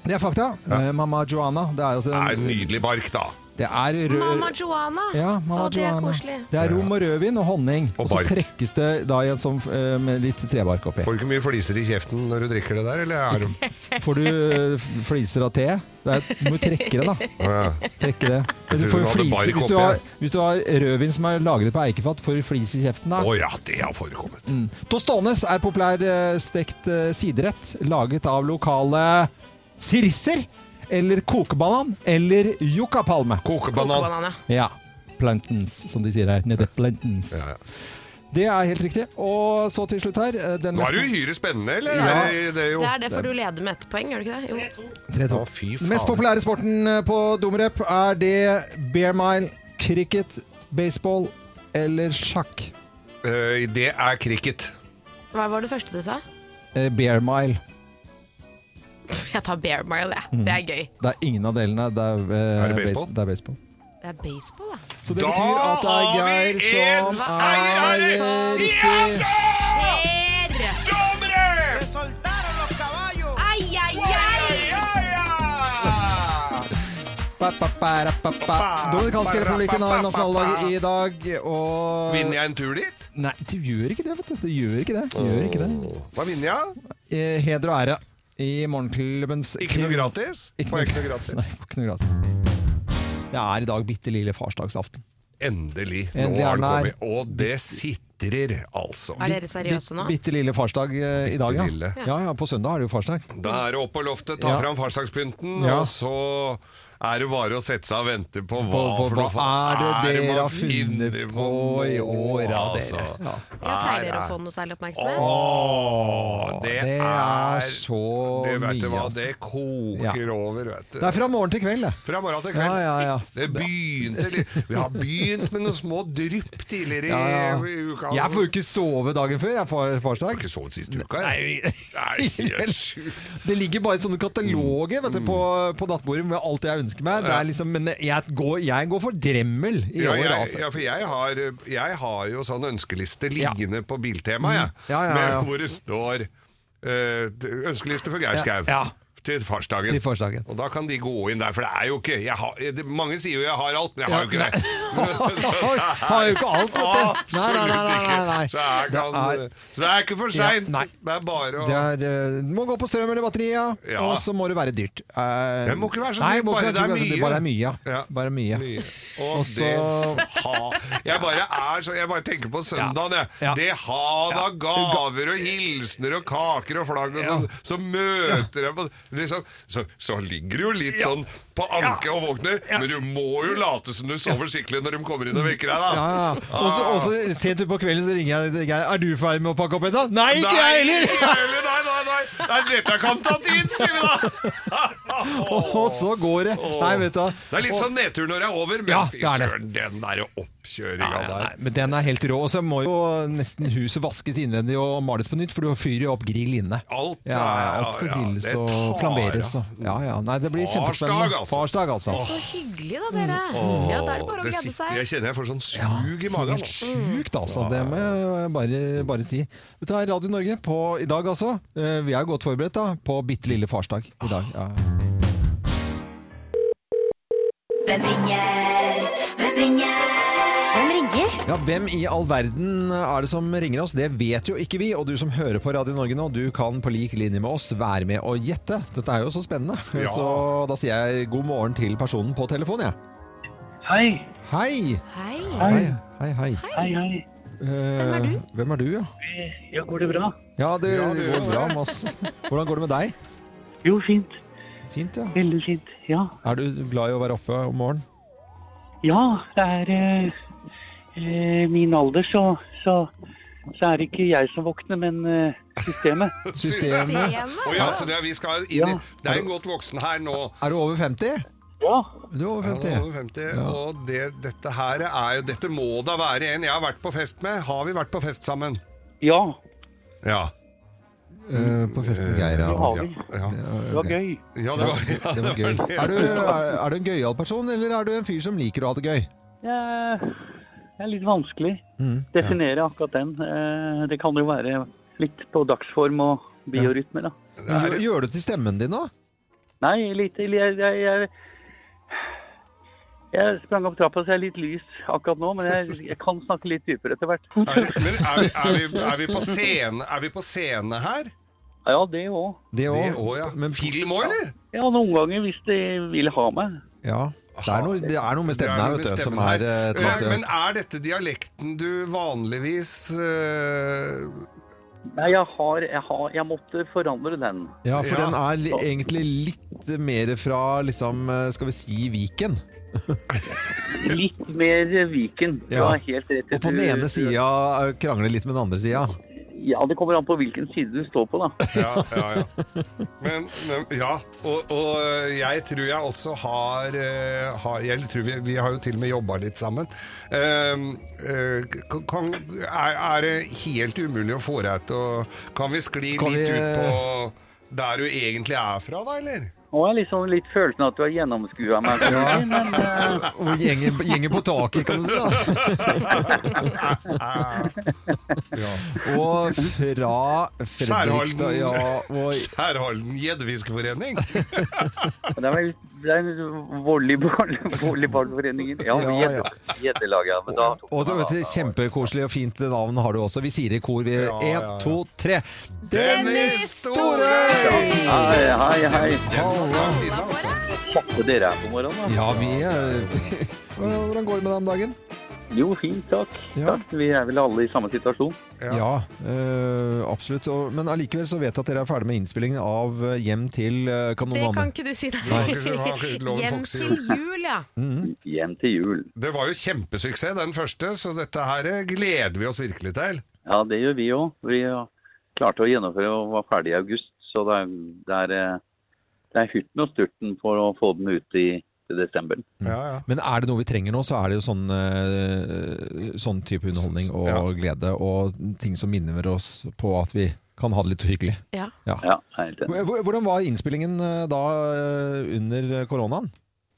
Det er fakta. Eh, Mamma Joanna. Det er, altså
Det er en
en,
nydelig bark, da.
det er rød...
Mamma Joana!
ja, Mamma
Å, det er
Joanna.
koselig.
Det er rom og rødvin og honning.
Og
Og så
bark.
trekkes det da i en sånn eh, med litt trebark oppi.
Får du ikke mye fliser i kjeften når du drikker det der, eller? Er du...
Får du eh, fliser av te? Det er, du må trekke det, da.
Ja.
Trekke det.
tror
Du får
du hadde
fliser,
bark
hvis, du
oppi
har,
her.
hvis du har rødvin som er lagret på eikefat, får du flis i kjeften da.
Å ja, det har forekommet.
Tostones er populær eh, stekt eh, siderett laget av lokale sirisser, eller kokebanan, eller yuccapalme.
Kokebanan.
Kokebanan, ja.
Ja. Plantains, som de sier her. Nede plantains.
Ja, ja.
Det er helt riktig. Og så til slutt her eh, den
Nå er det
mest,
uhyre spennende, eller?
Ja.
Er det, det er jo...
Det er derfor du leder med ett poeng, gjør du ikke det? Jo.
Tre, to.
Å, fy
Den mest
faen.
populære sporten eh, på Domerep er det bear mile, cricket, baseball eller sjakk.
Eh, Det er cricket.
Hva var det første du sa? <laughs>
Eh, Bear mile.
Jeg tar bear mile,
Mm.
jeg. Det er gøy.
Det er ingen av delene. Det er, eh,
Er det baseball?
base- Det er baseball.
Det er baseball, da.
Så det
Da
betyr at det er
har vi
Geir
en
som er
seier!
eh, riktig.
Dommere!
Ai, ai, ai!
Ja, ja!
Ba, ba, ba, ra, ba, ba. Dominikanske republikken har nasjonaldag i dag, og
Vinner jeg en tur dit?
Nei, du gjør ikke det, vet du. Du gjør ikke det. Du gjør ikke det.
Hva vinner jeg?
Eh, Heder og ære i morgenklubbens
Ikke noe gratis? Får jeg ikke noe
Nei,
gratis?
får ikke noe gratis. Det er i dag bitte lille farsdagsaften.
Endelig. Nå
Endelig
har den
er den
kommet. Og det sitrer, altså.
Er dere seriøse nå?
Bitte lille farsdag eh, i dag, ja.
lille.
ja. Ja, På søndag er det jo farsdag.
Da er det opp på loftet, ta
Ja.
fram farsdagspynten,
Ja.
og så er det bare å sette seg og vente på hva,
På, på,
for
hva
noe
er det
faen
dere
man
har funnet
finner
på i år av dere?
altså?
Ja.
Ja, pleier dere
Nei,
å få
nei.
noe særlig oppmerksomhet?
Åh, det,
Det er så
det, vet du
mye,
hva,
altså.
Det koker over, vet du.
Det er fra morgen til kveld, det.
Fra morgen til
Ja,
kveld.
ja, ja.
Det begynte litt Vi har begynt med noen små drypp tidligere i-
Ja, ja.
i uka.
Jeg får jo ikke sove dagen før jeg får farsdag.
ikke sovet siste uka. jeg. Nei,
<laughs>
helt sjukt.
Det ligger bare sånne kataloger
Mm.
vet du, på, på nattbordet med alt jeg ønsker meg. Det er liksom, men jeg går, jeg går for Dremmel i
Ja,
år,
jeg,
altså.
ja, for jeg har, jeg har jo sånn ønskeliste liggende på Biltema, jeg.
Mm. Ja, ja, ja.
Med, hvor det står eh, ønskeliste for Geir Skau.
Ja, ja.
til farsdagen.
Til farsdagen.
Og da kan de gå inn der, for det er jo ikke jeg har, det, Mange sier jo 'jeg har alt', men jeg har jo ikke
<laughs>
det.
Har jo ikke alt, vet du. Nei, nei, nei, nei, nei, nei.
Så, her kan,
Det er-
så det er ikke for seint.
Ja, nei.
det er bare å
Det er, eh, må gå på strøm eller batteri, ja.
Ja.
Og så må det være dyrt. Eh,
Det må ikke være så
nei,
dyrt,
må ikke
bare
være så
det er
dyrt,
mye.
Bare det er mye. ja.
Ja.
Bare mye.
Mye. Og
Og så-
det ha, jeg, bare er, så, jeg bare tenker på søndagen, jeg.
Ja.
Det hav av gaver og hilsener og kaker og flagg og sånn, så møter jeg på liksom, så, så ligger du jo litt sånn på anke og våkner, men du må jo late som du sover skikkelig når de kommer inn og vekker deg, da.
Ja, ja. Ah. Og så- Og så
Ah.
sent utpå kvelden så ringer jeg til Geir. Er du ferdig med å pakke opp ennå? Nei, ikke jeg heller! <laughs>
Ikke jeg heller! Nei, nei, nei! Nei, dette kan ta tid, sier vi da!
Og så går det. Nei, vet du hva.
Det er litt sånn nedtur når det er over, men
Ja,
fy
det er det.
søren, den derre oppkjøringa
Ja, ja,
der.
nei, men den er helt rå. Og så må jo nesten huset vaskes innvendig og males på nytt, for du fyrer jo opp grill inne.
Alt,
ja,
ja,
alt skal
ja,
grilles
det
og
tar,
flamberes.
ja.
Og, ja, ja. Nei, det blir kjempespennende.
Farsdag, altså.
Farsdag, altså.
Så hyggelig, da, dere. Mm, Ja, Da er det bare
Mm.
å
Det
glede
sitter-
seg.
Jeg kjenner jeg får sånn sug i magen.
Helt sjukt, altså. Det må jeg bare, bare si. Dette er Radio Norge på i dag, altså. Eh, Vi er godt forberedt da, på bitte lille farsdag i dag. Ja.
Hvem ringer? Hvem ringer? Hvem ringer?
ja, hvem i all verden er det som ringer oss? Det vet jo ikke vi. Og du som hører på Radio Norge nå, du kan på lik linje med oss være med og gjette. Dette er jo så spennende.
Ja.
Så da sier jeg god morgen til personen på telefonen, jeg.
Hei,
Hei!
Hei.
Hei, hei. hei.
hei, hei.
Hvem er du? Hvem er du, ja?
Ja, går det bra?
Ja, det
Ja, det
går
gjør
bra med oss. Hvordan går det med deg?
Jo, fint.
Fint, ja.
Veldig fint. Ja,
Er du glad i å være oppe om morgenen?
ja det er eh, eh, min alder, så, så, så er det ikke jeg som våkner, men eh, systemet.
<laughs> Systemet
Å ja, så det er, vi skal inn i
Ja.
Det er en godt voksen her nå.
Er du over 50?
Ja,
Du er over
Han
50.
er over 50, og det, dette her er jo Dette må da være en jeg har vært på fest med. Har vi vært på fest sammen?
ja,
Ja.
Eh, på festen med Geir,
det
ja.
Ja,
har vi.
ja.
Det var gøy.
ja det var ja.
Det var gøy. Er du, er, er du en gøyal person, eller er du en fyr som liker å ha det gøy? Mm.
Eh, Det er litt vanskelig å definere akkurat den. Eh, Det kan jo være litt på dagsform og biorytme, da.
Gjør, gjør du til stemmen din nå?
Nei, litt jeg, jeg, jeg, jeg sprang opp trappa, så jeg er litt lys akkurat nå. Men jeg, jeg kan snakke litt dypere etter hvert.
<laughs> Er, vi- men er, vi- er, vi, er, vi på scene, er vi på scene her?
Ja, det òg.
Det
Det
òg.
òg, ja.
Men
Film òg, eller?
Ja, noen ganger hvis de vil ha meg.
ja. Det er, noe, det er noe med
Det er
stemmen her,
noe
vet
med
du, som
stemmen
er eh,
her.
et eller
Eh, Men
annet.
er dette dialekten du vanligvis eh,
Nei, jeg har Jeg, har, jeg måtte forandre den.
Ja, for
Ja.
den er li egentlig litt mer fra, liksom, eh, skal vi si, Viken.
Litt mer Viken.
Ja.
Du har helt rett.
Og på den ene sida eh, krangle litt med den andre sida.
Ja, det kommer an på hvilken side du står på, da.
Ja, ja, ja. <laughs> Men, men ja, og, og jeg tror jeg også har, eh, har Jeg tror vi, vi har jo til og med jobba litt sammen. Ehm, eh, k- kan, er, er det helt umulig å få deg til å Kan vi eh, skli
Kan
litt
vi-
ut på der du egentlig er fra, da, eller?
Nå har jeg liksom litt følelsen av at du har gjennomskua meg. Men eh,
Og gjengen, gjengen på taket, kan du si. da.
Ja.
Og fra Fredrikstad ja, og
Skjærhalden gjeddefiskforening.
det er vel det er en volleyball, volleyballforeningen. Ja,
Ja, ja.
gjedde- gjeddelaget. men da tok
Og så,
jeg meg
vet du,
av.
Kjempekoselig og fint navn har du også. Vi sier i kor. Vi
Ja, ja, ja.
Én, to, tre.
Dennis Storøy!
Hei, hei, hei.
Den satt langt inne, altså.
Kjappe dere er på morgenen, da.
Ja, vi
<laughs>
eh, Hvordan går det med deg om dagen?
Jo, fint, takk.
Ja.
takk. Vi er vel alle i samme situasjon.
Ja.
Ja, eh, absolutt. Og, men allikevel så vet jeg at dere er ferdig med innspillingen av eh, Hjem til eh,
Det kan
Kanonane.
ikke du si,
Nei, han
<laughs>
kan ikke- han kan ikke love
Hjem
folk si
til jul, ja.
Mm.
Hjem til jul.
Det var jo kjempesuksess, den første, så dette her gleder vi oss virkelig til.
Ja, det gjør vi òg. Vi klarte å gjennomføre og var ferdig i august. Så det er, det er, eh, det er hurten og sturten for å få den ut i til desember.
Mm.
Ja, ja.
Men er det noe vi trenger nå, så er det jo sånn, eh, sånn type underholdning og
Ja.
glede og ting som minner oss på at vi kan ha det litt hyggelig.
ja.
Ja, jeg er helt enig.
Hvor- Hvordan var innspillingen eh, da eh, under koronaen?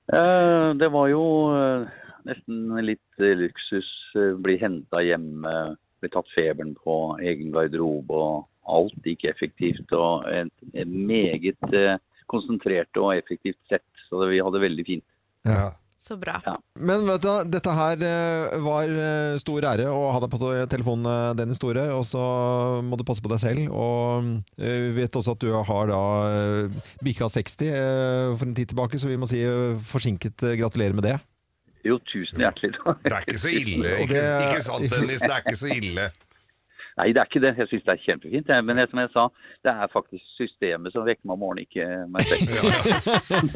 Eh, Det var jo eh, nesten litt eh, luksus. eh, Bli henta hjemme, bli tatt feberen på, egen garderobe og alt gikk effektivt. Og en en meget eh, konsentrert og effektivt sett. Så det, vi hadde det veldig fint.
Ja.
Så bra.
Men vet du, hva, dette her eh, var eh, stor ære å ha deg på te- telefonen, eh, Dennis Store. Og så må du passe på deg selv. Og eh, vi vet også at du har da eh, bikka 60 eh, for en tid tilbake, så vi må si eh, forsinket eh, gratulerer med det.
Jo, tusen hjertelig.
Det er ikke så ille.
Og
Ikke,
det-
ikke
<laughs>
sant, Dennis? Det er ikke så ille.
<laughs> Nei, det er ikke det. Jeg syns det er kjempefint. jeg. Men jeg, som jeg sa, det er faktisk systemet som vekker meg om morgenen, ikke meg
<laughs>
selv.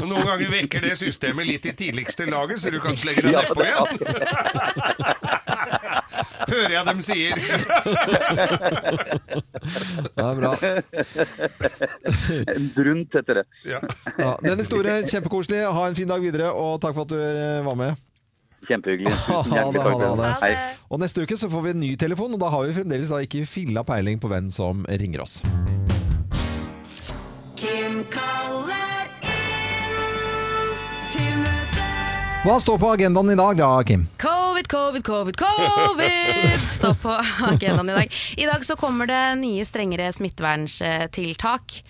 Men noen ganger vekker det systemet litt i tidligste laget, så du kan slenge deg
Ja,
nedpå igjen. <laughs> Hører jeg dem sier.
Det er bra.
Brunt heter det.
Ja.
Ja, Dennis Store, kjempekoselig. Ha en fin dag videre, og takk for at du eh, var med.
Kjempehyggelig. Tusen
Ha det,
hjertelig
ha
takk.
det, ha det.
Hei.
Og neste uke så får vi en ny telefon, og da har vi fremdeles da ikke filla peiling på hvem som ringer oss.
Kim kaller inn til møte.
Hva står på agendaen i dag da, Kim?
Covid, covid, covid, covid! Stå på agendaen i dag. I dag så kommer det nye, strengere smitteverntiltak.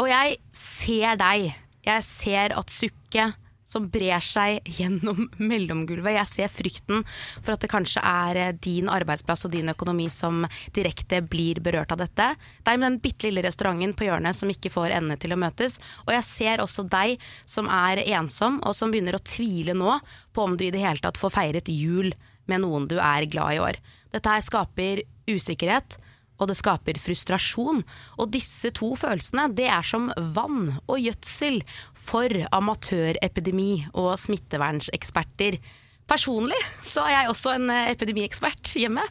Og jeg ser deg. Jeg ser at sukket som brer seg gjennom <laughs> mellomgulvet. Jeg ser frykten for at det kanskje er eh, din arbeidsplass og din økonomi som direkte blir berørt av dette. Deg med den bitte lille restauranten på hjørnet som ikke får endene til å møtes. Og jeg ser også deg som er ensom, og som begynner å tvile nå på om du i det hele tatt får feiret jul med noen du er glad i i år. Dette her skaper usikkerhet, og det skaper frustrasjon. Og disse to følelsene det er som vann og gjødsel for amatørepidemi og smittvernseksperter. Personlig så er jeg også en eh, epidemiekspert hjemme.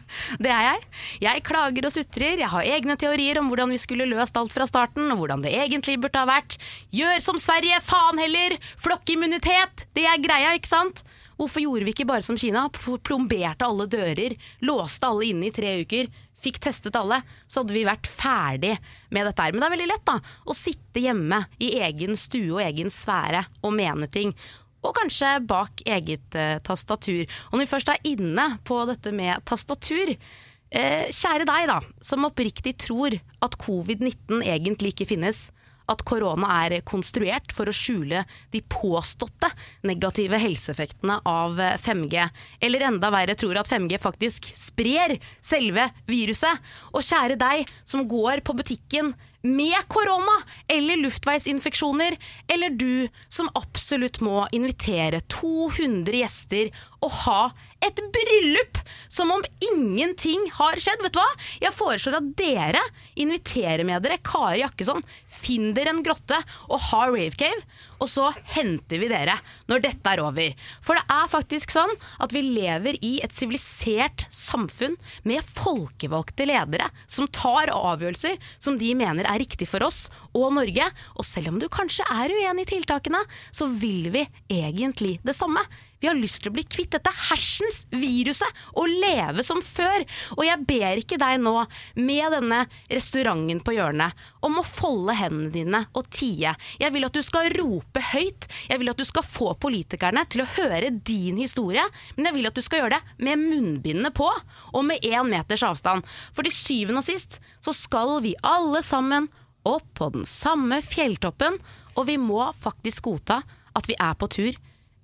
Det er jeg. Jeg klager og sutrer, jeg har egne teorier om hvordan vi skulle løst alt fra starten, og hvordan det egentlig burde ha vært. Gjør som Sverige, faen heller! Flokkimmunitet! Det er greia, ikke sant? Hvorfor gjorde vi ikke bare som Kina? Pl- Plomberte alle dører, låste alle inne i tre uker, fikk testet alle, så hadde vi vært ferdig med dette her. Men det er veldig lett da, å sitte hjemme i egen stue og egen sfære og mene ting. Og kanskje bak eget eh, tastatur. Og når vi først er inne på dette med tastatur, eh, kjære deg da, som oppriktig tror at covid-19 egentlig ikke finnes, at korona er konstruert for å skjule de påståtte negative helseeffektene av 5G. Eller enda verre tror at 5G faktisk sprer selve viruset. Og kjære deg som går på butikken med korona eller luftveisinfeksjoner, eller du som absolutt må invitere 200 gjester og ha et bryllup som om ingenting har skjedd. Vet du hva? Jeg foreslår at dere inviterer med dere Kari Jakkesson, finn dere en grotte og ha ravecave, og så henter vi dere når dette er over. For det er faktisk sånn at vi lever i et sivilisert samfunn med folkevalgte ledere som tar avgjørelser som de mener er riktig for oss og Norge. Og selv om du kanskje er uenig i tiltakene, så vil vi egentlig det samme. Vi har lyst til å bli kvitt dette hersens viruset og leve som før. Og jeg ber ikke deg nå, med denne restauranten på hjørnet, om å folde hendene dine og tie. Jeg vil at du skal rope høyt. Jeg vil at du skal få politikerne til å høre din historie, men jeg vil at du skal gjøre det med munnbindene på og med én meters avstand. For til syvende og sist så skal vi alle sammen opp på den samme fjelltoppen, og vi må faktisk godta at vi er på tur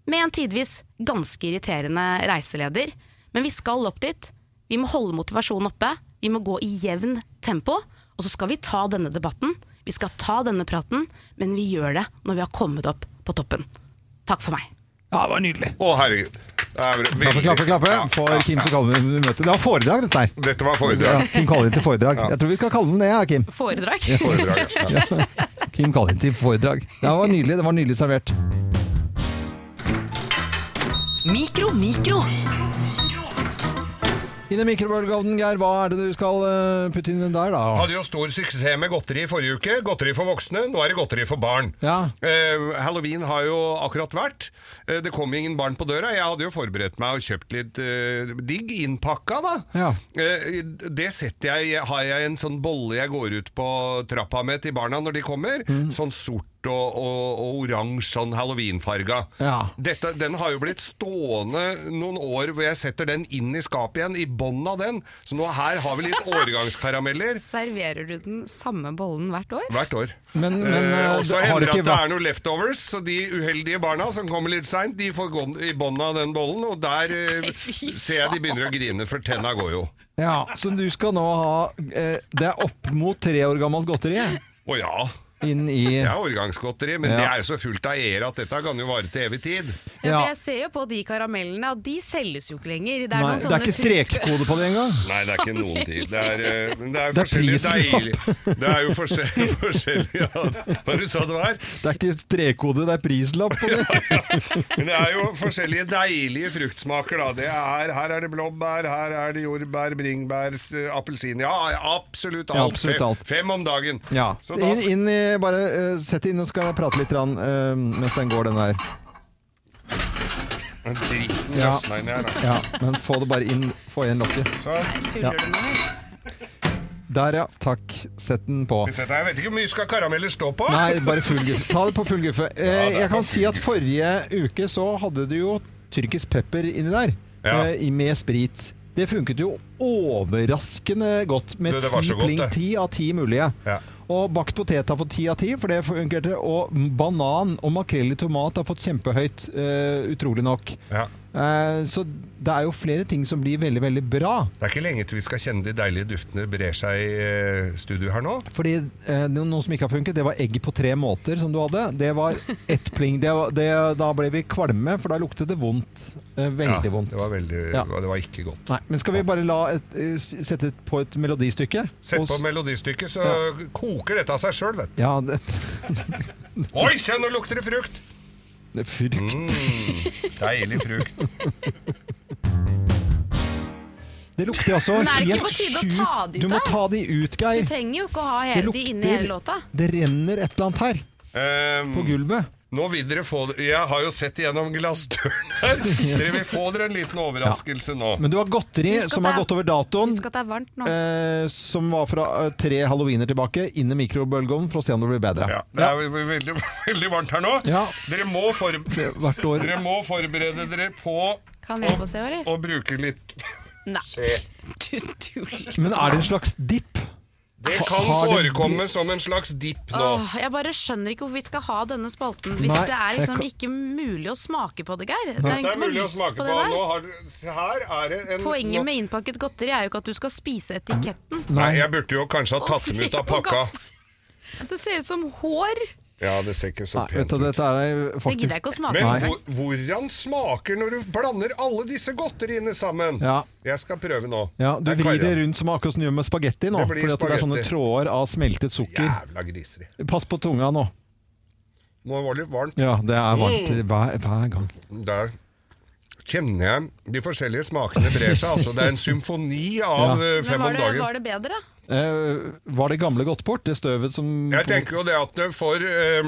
med en tidvis ganske irriterende reiseleder. Men vi skal opp dit. Vi må holde motivasjonen oppe. Vi må gå i jevn tempo. Og så skal vi ta denne debatten. Vi skal ta denne praten, men vi gjør det når vi har kommet opp på toppen. Takk for meg.
Ja, det var nydelig.
Å, herregud. Det er veldig-
Klappe, klappe, klappe for Kim som kaller vi møtet. Det var foredrag, dette her.
Dette var
Ja,
foredrag.
Kim kaller inn til foredrag. Jeg tror vi skal kalle den det, ja, Kim.
Foredrag.
foredrag ja.
Kim kaller inn til foredrag. Det var nydelig. Det var nydelig servert.
Mikro, mikro.
I den mikrobølgeovnen, Geir, hva er det du skal eh, putte inn der, da?
Hadde jo stor suksess med godteri i forrige uke. Godteri for voksne, nå er det godteri for barn.
Ja.
Eh, Halloween har jo akkurat vært. Eh, det kom ingen barn på døra. Jeg hadde jo forberedt meg og kjøpt litt eh, digg innpakka, da.
Ja.
Eh, det
Mm.
setter jeg Har jeg en sånn bolle jeg går ut på trappa med til barna når de kommer? Sånn sort og, og, og oransje, sånn halloweenfarga.
Ja.
Dette, den har jo blitt stående noen år hvor jeg setter den inn i skapet igjen, i bånn av den. Så nå her har vi
<laughs>
litt årgangskarameller
Serverer du den samme bollen hvert år?
hvert år.
Men, men
Eh,
eh,
og så
det- har
hender
det
det at
ikke
det
vært
er noen leftovers, så de uheldige barna som kommer litt seint, de får gå i bånn av den bollen, og der eh, ser jeg de begynner å grine, for tenna går jo.
ja, Så du skal nå ha eh, Det er opp mot tre år gammelt godteri
Å ja.
inn i
Det er årgangsgodteri, men
Ja.
det er jo så fullt av ære at dette kan jo vare til evig tid.
Ja.
Jeg ser jo på de karamellene at de selges jo ikke lenger. Det er,
Nei,
noen
det er
sånne
ikke strekkode på det engang.
Nei, det er ikke noen tid. Det er, eh, men det er
Det er
forskjellig
prisen
deilig Det er jo forskjellig, <laughs> forskjellig ja. Hva du sa det var?
Det er ikke strekkode, det er prislapp på det.
Men det er jo forskjellige deilige fruktsmaker, da. Det er, her er det blåbær, her er det jordbær, bringebær, s- appelsin Ja, absolutt alt.
Ja, absolutt alt.
Fem, fem om dagen.
Ja.
Så da,
Inn, inn i, bare eh, sett det inn, og så skal jeg prate litt grann, eh, mens den går, den der.
Dritten
Ja.
løsna inn her, da.
Ja, men få det bare inn. Få igjen lokket.
Så,
Tuller du med meg?
Der, ja. Takk. Sett den på.
vi setter her. jeg vet ikke hvor mye skal karameller stå på?
Nei, bare full guffe. Ta det på full guffe. Eh,
det er
jeg
på
kan si
full
at forrige uke så hadde du jo tyrkisk pepper inni der,
Ja.
eh, i- med sprit. Det funket jo overraskende godt, med
Du, det var
ti
så godt,
pling,
det.
ti av ti mulige.
Ja.
Og bakt potet har fått ti av ti, for det funkerte. Og banan og makrell i tomat har fått kjempehøyt, eh, utrolig nok.
Ja.
Eh, så det er jo flere ting som blir veldig, veldig bra.
Det er ikke lenge til vi skal kjenne de deilige duftene brer seg i eh, studio her nå.
Fordi eh, no- noe som ikke har funket, det var egg på tre måter som du hadde. Det var ett pling. Det, var- det, da ble vi kvalme, for da luktet det vondt. Eh, veldig
Ja,
vondt.
Det var, veldig,
Ja.
det var ikke godt.
Nei, men skal vi bare la et, eh, s- sette et- på et melodistykke?
Sett
Og s-
på melodistykket, så koker dette av seg sjøl, vet du.
Ja, det, <laughs>
Oi, se, nå lukter det frukt!
det er
Mm.
frykt.
Deilig frukt.
Det lukter altså
Men er det ikke
helt
på tide å
sjukt.
ta det ut
Du må
da?
ta de ut,
Du
Geir.
trenger jo ikke å ha
Det
hele, de inni hele låta.
lukter Det renner et eller annet her
Ehm,
<laughs> på gulvet.
nå vil dere få det Jeg har jo sett gjennom glassdøren her. Dere vil få dere en liten overraskelse nå.
Men du har godteri
Husk at
som
det
har
er-
gått over datoen.
Husk at det er varmt nå.
Eh, som var fra eh, tre hallowener tilbake, inn i mikrobølgeovnen for å se om det blir bedre.
Ja, det er ve- veldig, veldig varmt her nå.
Ja.
Dere, må forbe-
Hvert år.
dere må forberede dere på
Kan jeg få se, eller?
å bruke litt
Nei, <laughs> du tuller.
Men er det en slags dipp?
Det
Ha-
kan
har det
forekomme som en slags dipp nå.
Åh, jeg bare skjønner ikke hvorfor vi skal ha denne spalten hvis
Nei,
det er
jeg
liksom
kan-
ikke mulig å smake på det, Geir. Det er jo
Det
ingen
er
som har
mulig å
lyst på
smake
det
på. Nå
der.
har, du- se her er det en nå-
Poenget med innpakket godteri er jo ikke at du skal spise etiketten.
Nei, jeg burde jo kanskje ha
Å,
tatt dem ut av
se på
pakka.
Det ser ut som hår!
Ja, det ser ikke så
Nei, vet
pent
du,
ut.
dette er jo
Det gidder jeg
faktisk
ikke å smake
Men
på.
Nei.
hvor, hvordan smaker når du blander alle disse godteriene sammen?
Ja.
Jeg skal prøve nå.
ja, Du
Jeg
vrir det
klarer
rundt som akkurat som du gjør med spagetti nå.
Det blir
Fordi at det er sånne
spagetti.
tråder av smeltet sukker.
Jævla griser. i.
Pass på tunga nå.
Nå var det litt varmt.
Ja, det
Mm.
er varmt hver, hver gang.
Der kjenner jeg de forskjellige smakene brer seg. Altså, det er en symfoni av eh,
Men
fem om
var det,
dagen.
var det bedre?
Eh, var det gamle godt bort? Det støvet som
Jeg tenker jo det at det for eh,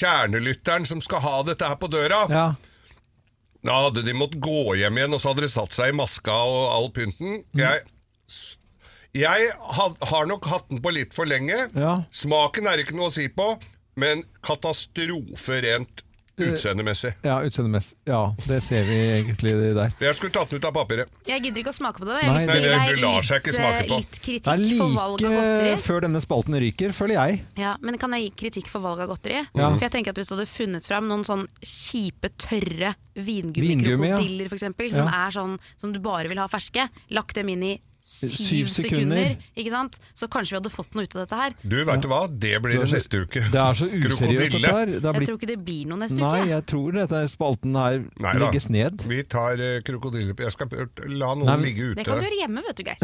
kjernelytteren som skal ha dette her på døra,
Ja.
da hadde de måttet gå hjem igjen, og så hadde de satt seg i maska og all pynten.
Mm.
Jeg, s- jeg ha, har nok hatt den på litt for lenge.
Ja.
Smaken er ikke noe å si på, men katastrofe rent
Eh,
utseendemessig.
Ja, utseendemessig. Ja, det ser vi egentlig der.
Jeg skulle tatt den ut av papiret.
Jeg gidder ikke å smake på det. Jeg
Nei,
har lyst til å gi
det-
deg
det lar seg ikke
litt,
smake
eh,
på.
litt kritikk
Det er
for valg av
like
godteri.
før denne spalten ryker, føler jeg.
Ja, men kan jeg gi kritikk for valg av godteri?
Ja.
For jeg tenker at Hvis du hadde funnet fram noen sånn kjipe, tørre
Vingummi, ja.
vingummikrokodiller, for eksempel, som
Ja.
er sånn som du bare vil ha ferske, lagt dem inn i
Syv
syv
sekunder.
sekunder, ikke sant? så kanskje vi hadde fått noe ut av dette her.
Du, veit du hva? Det blir det neste uke.
Det er så useriøst,
Krokodille.
dette her. Det har
Jeg
blitt...
tror ikke det blir noe neste
Nei,
uke. jeg.
jeg tror dette spalten her
Nei da.
legges ned.
Vi tar eh, krokodille... Jeg skal p- la noen
Nei, men-
ligge ute.
Det kan du gjøre hjemme, vet du, Geir.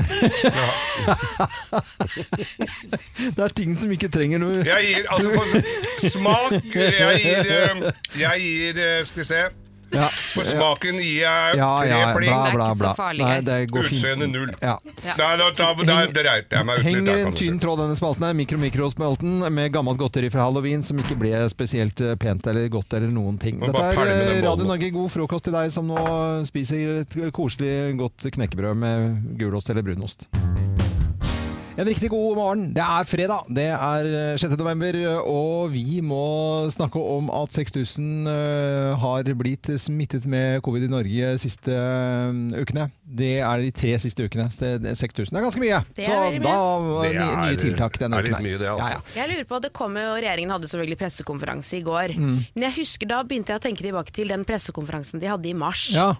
Det er ting som ikke trenger noe
Jeg gir altså
<laughs>
for smak Jeg gir, eh, jeg gir eh, Skal vi se.
Ja,
For smaken gir jeg
ja,
tre
ja
pling.
bla, bla,
Det er ikke så
bla.
farlig,
Nei,
Geir.
det går fint.
Utseende null.
Ja.
Nei, da, da, da, da dreit jeg meg ut litt.
Henger
der,
en
kan du
tynn
si.
tråd denne spalten her, mikro-mikro-spalten, med gammelt godteri fra halloween som ikke ble spesielt eh, pent eller godt eller noen ting.
Må
Dette
bare
er
pælme den
eh, Radio
bollen.
Norge, god frokost til deg som nå spiser et koselig, godt knekkebrød med gulost eller brunost. En riktig god morgen. Det er fredag, det er eh, 6. november, og vi må snakke om at 6000 eh, har blitt smittet med covid i Norge de siste eh, ukene. Det er de tre siste ukene. så det- 6000 er ganske mye.
Det er
Så
veldig mye.
da var
Det
ny,
er-
nye tiltak denne
er litt
uken. her.
mye det, altså.
Ja, ja.
Jeg lurer på, det kom jo, Regjeringen hadde selvfølgelig pressekonferanse i går.
Mm.
Men jeg husker da begynte jeg å tenke tilbake til den pressekonferansen de hadde i mars.
Ja.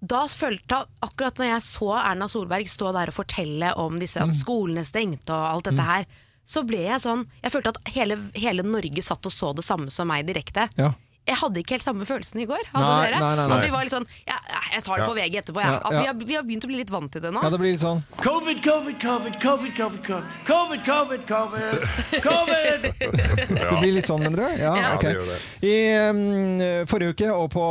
Da følte jeg, Akkurat når jeg så Erna Solberg stå der og fortelle om disse,
Mm.
at skolene stengte og alt dette her, så ble jeg sånn Jeg følte at hele, hele Norge satt og så det samme som meg direkte.
Ja.
Jeg hadde ikke helt samme følelsen i går. Hadde
Nei,
dere?
nei, nei, nei.
At vi var litt sånn ja, Jeg tar det på VG etterpå, jeg.
Ja,
At
ja.
vi har, vi har begynt å bli litt vant til det nå.
ja, det blir litt sånn.
Covid, covid, covid, covid, covid, covid, covid, covid, covid.
Det blir litt sånn, mener du? Ja,
Ja.
ok.
Ja, det gjør det.
I mm, forrige uke og på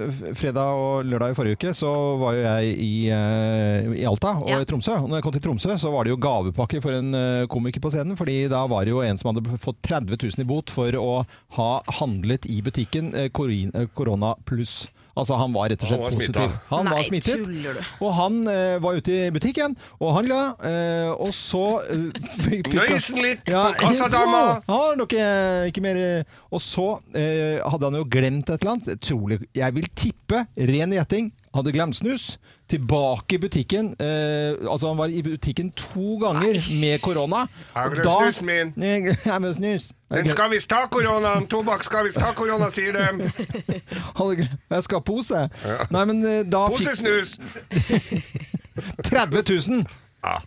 eh, fredag og lørdag i forrige uke så var jo jeg i, eh, i Alta og
Ja.
i Tromsø. Og når jeg kom til Tromsø så var det jo gavepakke for en eh, komiker på scenen, fordi da var det jo en som hadde fått 30 000 i bot for å ha handlet i butikken eh, korin- eh, korona pluss. Altså Han var rett og slett
Han var smittet.
positiv. Han
Nei,
var smittet.
tuller du?
Og han eh, var ute i butikken og handla, eh, og så eh, fikk han-
Nøysen litt <laughs> på
<laughs>
kassadama.
så, har dere ikke mer eh, Og så eh, hadde han jo glemt et eller annet. Trolig, jeg vil tippe, ren gjetting, hadde glemt snus. Tilbake i butikken. Eh, altså han var i butikken to ganger med korona.
Har
og
du
da-
snusen min?
<laughs> Nei, Jeg har med snus.
Den
Jeg
skal visst ta koronaen! Tobakk skal visst ta korona, sier
<laughs>
de.
hadde glemt- Jeg skal ha pose. Nei, men eh, da fikk
Posesnus!
30 000!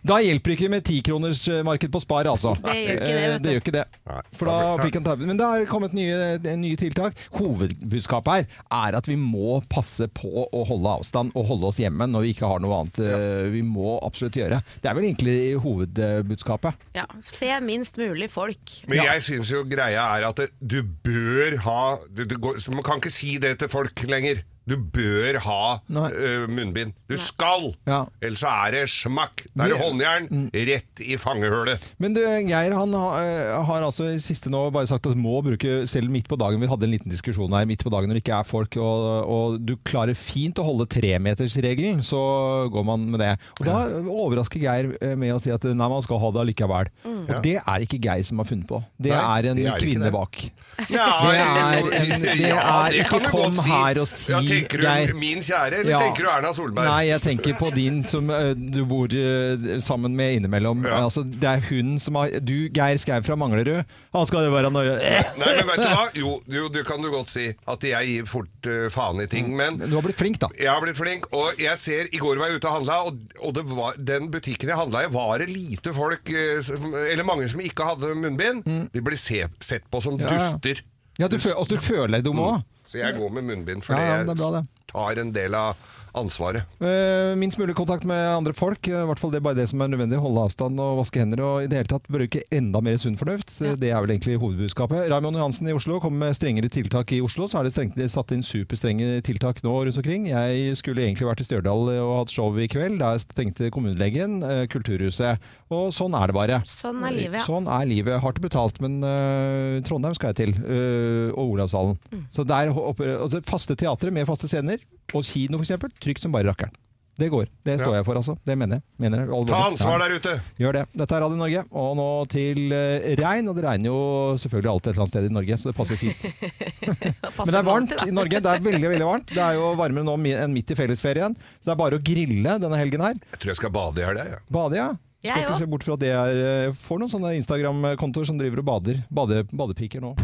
Da hjelper det ikke med tikronersmarked på Spar, altså.
Det gjør ikke det,
Eh,
vet du.
det gjør ikke det.
Nei.
For da fikk han tabben. Men det har kommet nye, nye tiltak. Hovedbudskapet her er at vi må passe på å holde avstand og holde oss hjemme når vi ikke har noe annet eh, vi må absolutt gjøre. Det er vel egentlig hovedbudskapet.
Ja, se minst mulig folk.
Men jeg syns jo greia er at det, du bør ha du, du, går- så Man kan ikke si det til folk lenger. Du bør ha
Nei.
ø, munnbind. Du skal!
Ja. Mm.
Ellers så er det smakk. Da er det
Vi-
håndjern rett i fangehølet.
Men du, Geir han har, eh, har altså i siste nå bare sagt at må bruke selv midt på dagen. Vi hadde en liten diskusjon her midt på dagen når det ikke er folk, og, og du klarer fint å holde tremetersregelen, så går man med det. Og da overrasker Geir eh, med å si at nei, man skal ha det allikevel. Og det er ikke Geir som har funnet på. Det
Mm. Nei,
er en
det er ikke
kvinne
det.
bak.
Nei, <laughs>
er en- det er-
det kan
ikke
du
kom
godt
her og si,
ja, Tenker du
Geir.
min kjære, eller
Ja.
tenker du Erna Solberg?
Nei, jeg tenker på din som ø, du bor ø, sammen med innimellom.
Ja.
Altså, det er hun som har Du, Geir Skau fra Manglerud. Han skal være nøye
Nei, men vet du
<laughs>
hva? Jo, jo, du kan du godt si at jeg gir fort eh, faen i ting, men
Mm. Du har blitt flink, da.
jeg har blitt flink, og jeg ser I går var jeg ute og handla, og, og det var, den butikken jeg handla i, var det lite folk eh, som, Eller mange som ikke hadde munnbind. De blir se, sett på som
Mm. Ja, ja.
duster.
Ja, du, fø- altså, du føler deg dum òg.
Så jeg går med munnbind,
Ja,
fordi
ja, men det er bra, det.
jeg tar en del av ansvaret.
Eh, minst mulig kontakt med andre folk. ø, I hvert fall det er bare det som er nødvendig. Holde avstand og vaske hender. Og i det hele tatt bruke enda mer sunn fornuft. Så Det er vel egentlig hovedbudskapet. Raymond Johansen i Oslo kom med strengere tiltak i Oslo. Så er det strengt, satt inn superstrenge tiltak nå rundt omkring. Jeg skulle egentlig vært i Stjørdal og hatt show i kveld. Der stengte kommunelegen, ø, Kulturhuset. Og sånn er det bare.
Sånn er livet, ja.
Sånn er livet. Hardt betalt, men øh, Trondheim skal jeg til. øh, og Olavshallen. Så der oppe- altså, faste teatre med faste scener, og kino f.eks. Trygt som bare rakkeren. Det går. Det står jeg for, altså. Det mener jeg. Mener jeg. alvorlig.
Ta ansvar
Ja,
der ute!
Gjør det. Dette er Radio Norge, og nå til øh, regn. Og det regner jo selvfølgelig alltid et eller annet sted i Norge, så det passer fint. Men det er varmt i Norge. Det er veldig, veldig varmt. Det er jo varmere nå mi- enn midt i fellesferien, så det er bare å grille denne helgen her.
Jeg tror jeg skal bade i helga, jeg.
Bade, ja. Skal
Jeg
ikke
òg.
se bort fra at det er eh, får noen sånne Instagram-kontoer som driver og bader. Bade, badepiker nå.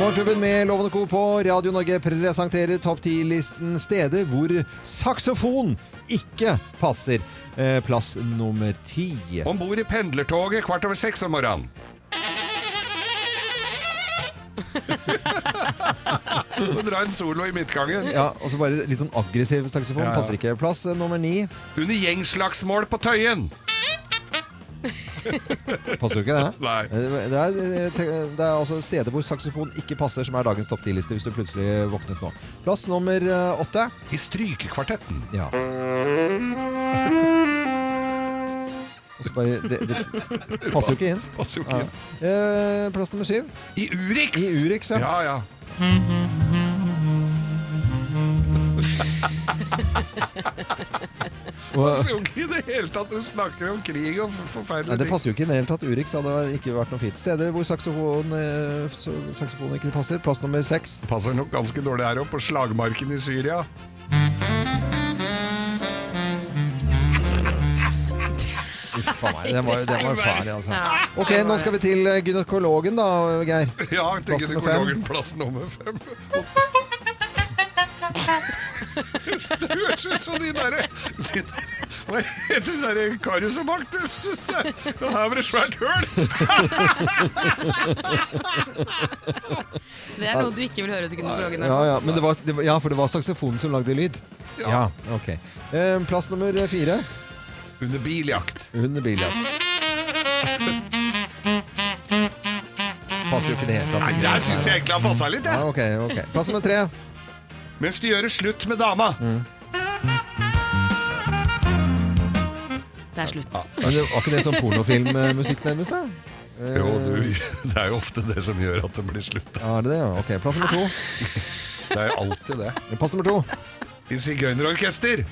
Morgenklubben med Lovende Co. på Radio Norge presenterer topp 10-listen steder hvor saksofon ikke passer. Eh, Plass nummer ti.
Om bord i pendlertoget kvart over seks om
<laughs>
morgenen. Og dra en solo i midtgangen.
Ja, og så bare litt sånn aggressiv saksofon.
Ja, ja.
Passer ikke. Plass eh, nummer ni.
Under gjengslagsmål på Tøyen.
Passer jo ikke det? Eh,
Nei.
Det er, det er altså steder hvor saksofon ikke passer, som er dagens topp 10-liste, hvis du plutselig våknet nå. Plass nummer eh, åtte.
I strykekvartetten.
Ja. Og så bare det, det passer jo ikke inn.
Passer jo ikke
Ja.
inn.
Eh, plass nummer syv.
I Urix.
I Urix, ja.
ja. ja.
Og,
passer jo ikke i det hele tatt. Hun snakker om krig og for-
nei,
forferdelige
det passer jo ikke i det hele tatt. Urix hadde vel ikke vært noe fint sted hvor saksofon, eh, så- saksofonen ikke passer. Plass nummer seks.
passer nok ganske dårlig her oppe på slagmarken i Syria.
Uff a meg, den var, den var farlig, altså. Ok, nå skal vi til eh, gynekologen da, Geir.
Ja, til
Plass nummer
gynekologen. Plass nummer fem. Og så- Det høres ut som de derre de der- Hva heter de derre Karius og Baktus? Det her var et svært høl!
Det er noe du ikke vil høre hos gynekologen.
Ja, ja, men det var, det var, ja, for det var saksofonen som lagde lyd.
Ja.
Ja, ok. Eh, Plass nummer fire.
Under biljakt.
Under biljakt. Passer jo ikke i det hele tatt.
Nei, Der syns jeg egentlig han passa litt,
Ja,
jeg.
ok, ok. Plass nummer tre.
Mens de gjør slutt med dama.
Det er slutt.
Men det var ikke det sånn pornofilmmusikk nærmest, da?
Jo, du, det er jo ofte det som gjør at det blir slutt.
Ja, er det det? Ja, Ok, plass nummer to.
Det er jo alltid det.
Plass nummer to.
I sigøynerorkester.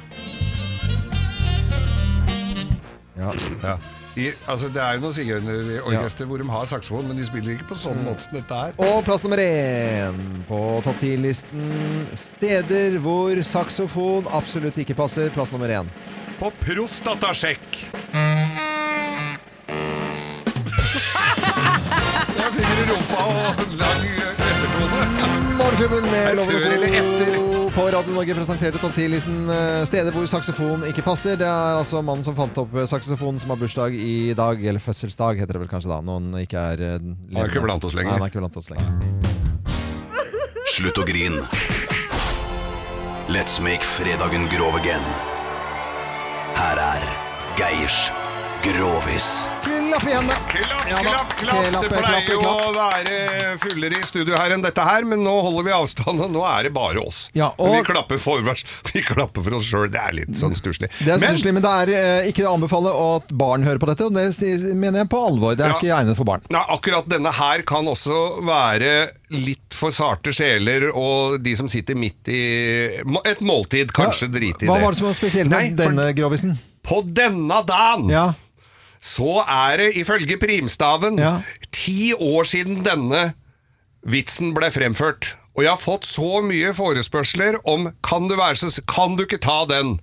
Ja.
Ja. I, altså, det er jo noen sigøynerorkester hvor de har saksofon, men de spiller ikke på sånn
Mm.
måte som dette her.
Og plass nummer én på topp ti-listen steder hvor saksofon absolutt ikke passer. Plass nummer én.
På prostatasjekk. <laughs> Jeg fikk rumpa og lang ettertone.
Morgenklubben med
Før eller
Lovende Co.
etter?
på Radio Norge presenterte topp 10-listen eh, steder hvor saksofon ikke passer. Det er altså mannen som fant opp eh, saksofonen som har bursdag i dag, eller fødselsdag heter det vel kanskje da, når han ikke er eh, levende.
ikke blant oss lenger.
Nei, han er ikke blant oss lenger.
Slutt å grin. Let's make fredagen grov again. Her er Geirs Grovis.
Klapp i hendene!
Klapp,
Ja da.
klapp, klapp. Det
Klapp, klapp,
pleier jo
klapp.
å være fullere i studio her enn dette her, men nå holder vi avstand, og nå er det bare oss.
Ja, og-
Men vi klapper forvers. <laughs> Vi klapper for oss sjøl. Det er litt sånn stusslig.
Det er
Men-
stusslig, men det er eh, ikke å anbefale at barn hører på dette. Og det sier- mener jeg på alvor. Det er
Ja.
ikke egnet for barn.
Nei, akkurat denne her kan også være litt for sarte sjeler og de som sitter midt i må- et måltid, kanskje drite i det.
Hva var det som var spesielt med
Nei, for-
denne grovisen?
På denne dagen
Ja.
så er det ifølge primstaven
Ja.
ti år siden denne vitsen ble fremført. Og jeg har fått så mye forespørsler om kan du, være så, s- kan du ikke ta den?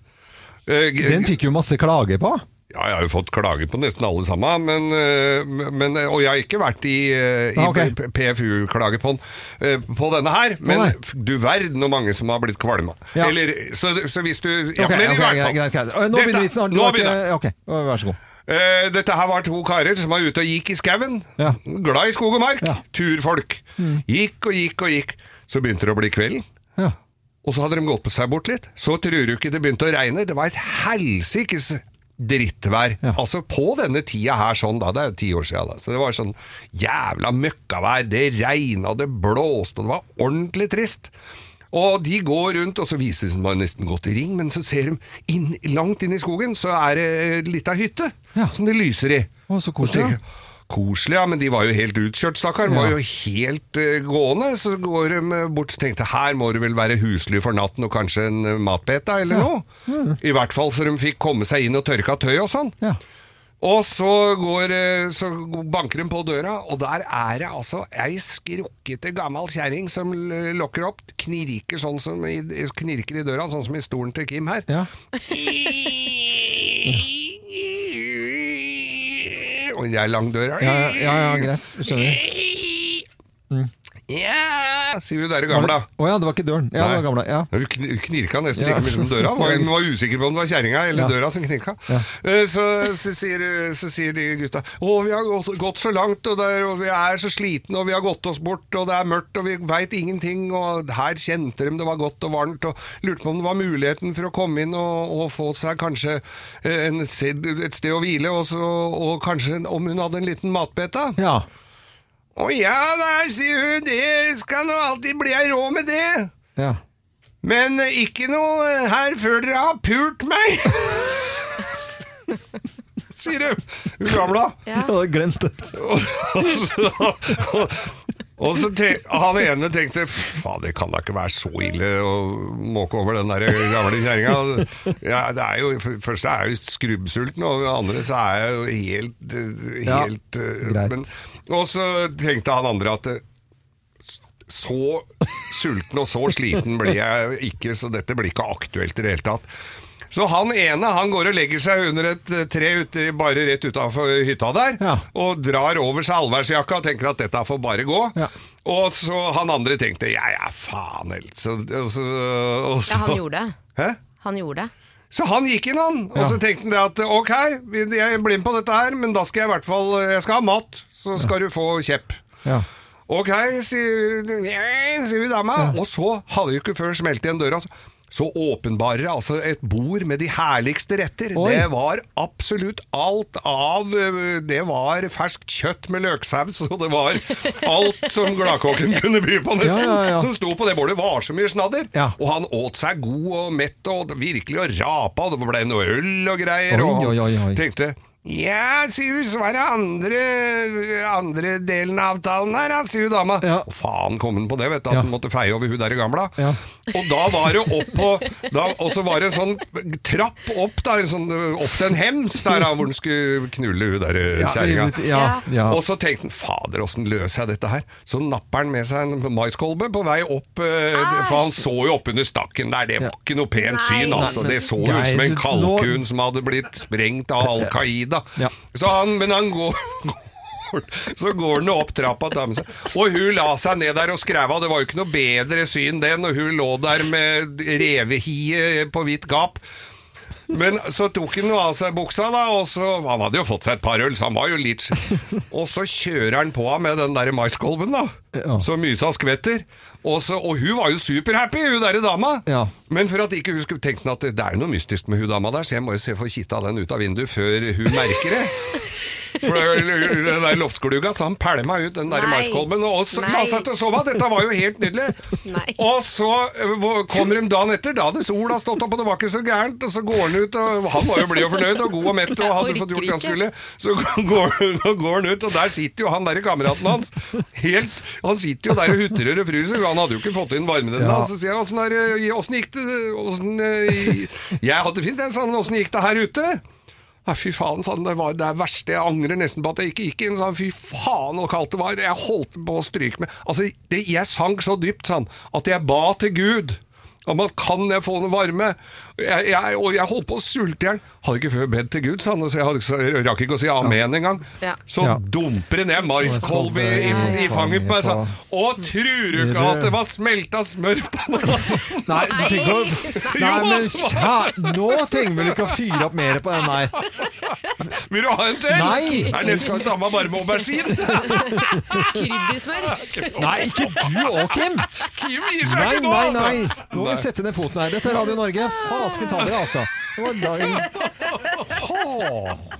Eh, g-
Den fikk jo masse klager på.
ja, jeg har jo fått klager på nesten alle sammen, men, øh, men, og jeg har ikke vært i, øh, i
Ah, ok.
PFU-klage på, den, øh, på denne her, men
nei.
f- du verden hvor mange som har blitt kvalma.
Ja.
Eller, så, så hvis du ja,
Ok,
men i
ok,
hvert fall.
greit, greit, greit. Nå begynner vitsen. Arne. Du
nå
har ikke-
begynner jeg.
Ok, vær så god.
Eh, dette her var to karer som var ute og gikk i skauen.
Ja.
Glad i skog og mark.
Ja. Mm.
Turfolk. Gikk og gikk og gikk. Så begynte det å bli kvelden.
Ja.
Og så hadde de gått på seg bort litt. Så tror du ikke det begynte å regne. Det var et helsikes drittvær.
Ja.
Altså på denne tida her sånn da, det er ti år siden da. Så det var sånn jævla møkkavær. Det regna, det blåste, og det var ordentlig trist. Og de går rundt, og så viser det seg at de har nesten gått i ring, men så ser de inn, langt inn i skogen, så er det eh, litt av hytte
Ja.
som det lyser i.
Å, så
Og
koselig, ja.
tenker, Koselig, ja, men de var jo helt utkjørt, stakkar. De Var jo helt eh, gående. Så går de eh, bort og tenkte her må det vel være husly for natten og kanskje en eh, matbit da, eller noe. I hvert fall så de fikk komme seg inn og tørka tøy og sånn.
Ja.
Og så, går, eh, så banker de på døra, og der er det altså ei skrukkete gammel kjerring som l- lokker opp, knirker, sånn som i, knirker i døra, sånn som i stolen til Kim her.
Ja.
Og det er lang dør her.
Ja, ja, ja, ja, greit. Skjønner.
Ja, sier du der i gamla.
Å ja, det var ikke døren. Ja, det var gamla. Ja.
Du kn- knirka nesten
Ja.
like mye som døra. Du var, du var usikker på om det var kjerringa eller
Ja.
døra som knirka.
Ja.
Eh, Så, så, sier, så sier de gutta Å, vi har gått, gått så langt, og, det er- og vi er så slitne, og vi har gått oss bort, og det er mørkt, og vi veit ingenting, og her kjente de det var godt og varmt, og lurte på om det var muligheten for å komme inn og, og få seg kanskje eh, en, sted- et sted å hvile, og, så, og kanskje en- om hun hadde en liten matbete.
ja.
Å ja da, sier hun, det skal nå alltid bli ei råd med det.
ja.
Men eh, ikke noe eh, her før dere har pult meg! <laughs> Sier hun. Hun gamla.
Jeg hadde glemt det.
Og- og så- og- Og så te- han ene tenkte Faen, det kan da ikke være så ille å måke over den der gamle kjerringa. Ja, det er jo- for- Først er jeg jo skrubbsulten, og det andre så er jeg jo helt, eh,
Ja,
helt eh,
greit.
Og så tenkte han andre at eh, s- så sulten og så sliten blir jeg ikke, så dette blir ikke aktuelt i det hele tatt. Så han ene han går og legger seg under et eh, tre ute, bare rett utafor hytta der,
Ja.
og drar over seg allværsjakka og tenker at dette får bare gå.
Ja.
Og så han andre tenkte ja, ja, faen helt. Så, og så, og så,
Ja, han gjorde det.
Hæ?
Han gjorde det.
Så han gikk inn, han. Og
Ja.
så tenkte han det at ok, jeg blir med på dette her, men da skal jeg i hvert fall jeg skal ha mat. Så skal du få kjepp.
Ja.
Ok, sier, «Nei», sier vi dama. Og så hadde vi ikke før smelt igjen døra. så- Så åpenbarer altså et bord med de herligste retter.
Oi.
Det var absolutt alt av øh, Det var ferskt kjøtt med løksaus, og det var alt som
<laughs>
gladkokken kunne by på, nesten.
Ja, ja, ja.
Som sto på det bordet. var så mye snadder.
Ja.
Og han åt seg god og mett og virkelig og rapa, og det ble noe øl og greier.
Oi,
og han
oi, oi, oi.
tenkte ja, sier hun, så var det andre, andre delen av avtalen her, ja, sier hun dama.
Ja.
Å, faen kom hun på det, vet du, at
Ja.
hun måtte feie over hun der gamla.
Ja.
Og da var det opp på da, Og så var det en sånn trapp opp, da, en sånn, ø, opp til en hems der, da, hvor hun skulle knulle hun der ø, kjerringa.
Ja, ja.
Og så tenkte han fader, åssen løser jeg dette her? Så napper han med seg en maiskolbe på vei opp, eh, for han så jo oppunder stakken der. Det var ikke noe pent syn, altså.
Nei, men-
Det så jo
Geir,
ut som
du-
en
nå-
kalkun som hadde blitt sprengt av Al Qaida.
Ja.
Så han, men han går så går han opp trappa til damen sin. Og hun la seg ned der og skræva. Det var jo ikke noe bedre syn det når hun lå der med revehie på vidt gap. Men så tok han jo av seg buksa, da, og så Han hadde jo fått seg et par øl, så han var jo litt
<laughs>
Og så kjører han på henne med den der maiskolben, da.
Ja.
Så mysa skvetter. Og, så, og hun var jo superhappy, hun derre dama.
Ja.
Men for at ikke hun skulle tenke at det er noe mystisk med hun dama der, så jeg må jo se få kitta den ut av vinduet før hun merker det.
<laughs>
For den der loftsglugga, så han pælma ut den der
Nei.
maiskolben og så,
Nei.
la seg til å sove. Dette var jo helt nydelig.
Nei.
Og så eh, hvor- kommer de dagen etter, da hadde sola stått opp, og det var ikke så gærent. Og så går han ut, og han var jo blid og fornøyd og god og mett og hadde
Jeg
fått
orker
gjort det han
ikke.
skulle. Så <laughs> går, og går han ut, og der sitter jo han derre kameraten hans. Helt, han sitter jo der og hutrer og fryser, og han hadde jo ikke fått inn varmen ennå.
Ja.
Så sier han åssen er det- åssen gikk det åssen, eh, Jeg hadde det fint, jeg, sa han. Åssen gikk det her ute? Ja, fy faen, sa han, det var det verste. Jeg angrer nesten på at jeg ikke gikk inn. Sa han, fy faen så kaldt det var. Jeg holdt på å stryke med. Altså, det, jeg sank så dypt, sa han, at jeg ba til Gud om at kan jeg få noe varme? Jeg, jeg, og jeg holdt på å sulte i hjel. Hadde ikke før bedt til Gud, sa han. og Så jeg, hadde, ikke- så jeg rakk ikke å si amen engang.
Ja.
Så
Ja.
dumper det ned maiskolbe i, i, i fanget på meg, sa han. Og tror du ikke at det var smelta smør på den? Altså.
Nei, du tenker å- Nei, men kjæ- nå trenger vi vel ikke å fyre opp mer på den der.
Vil du ha en til?
Nei.
Det er nesten samme varme aubergine.
Kryddersmør.
Nei, ikke du òg, Kim!
Kim gir seg
Nei,
ikke nå!
nei,
altså.
nei! Nå må vi sette ned foten her. Dette er Radio Norge. Fasken ta dere, altså. Det var dagens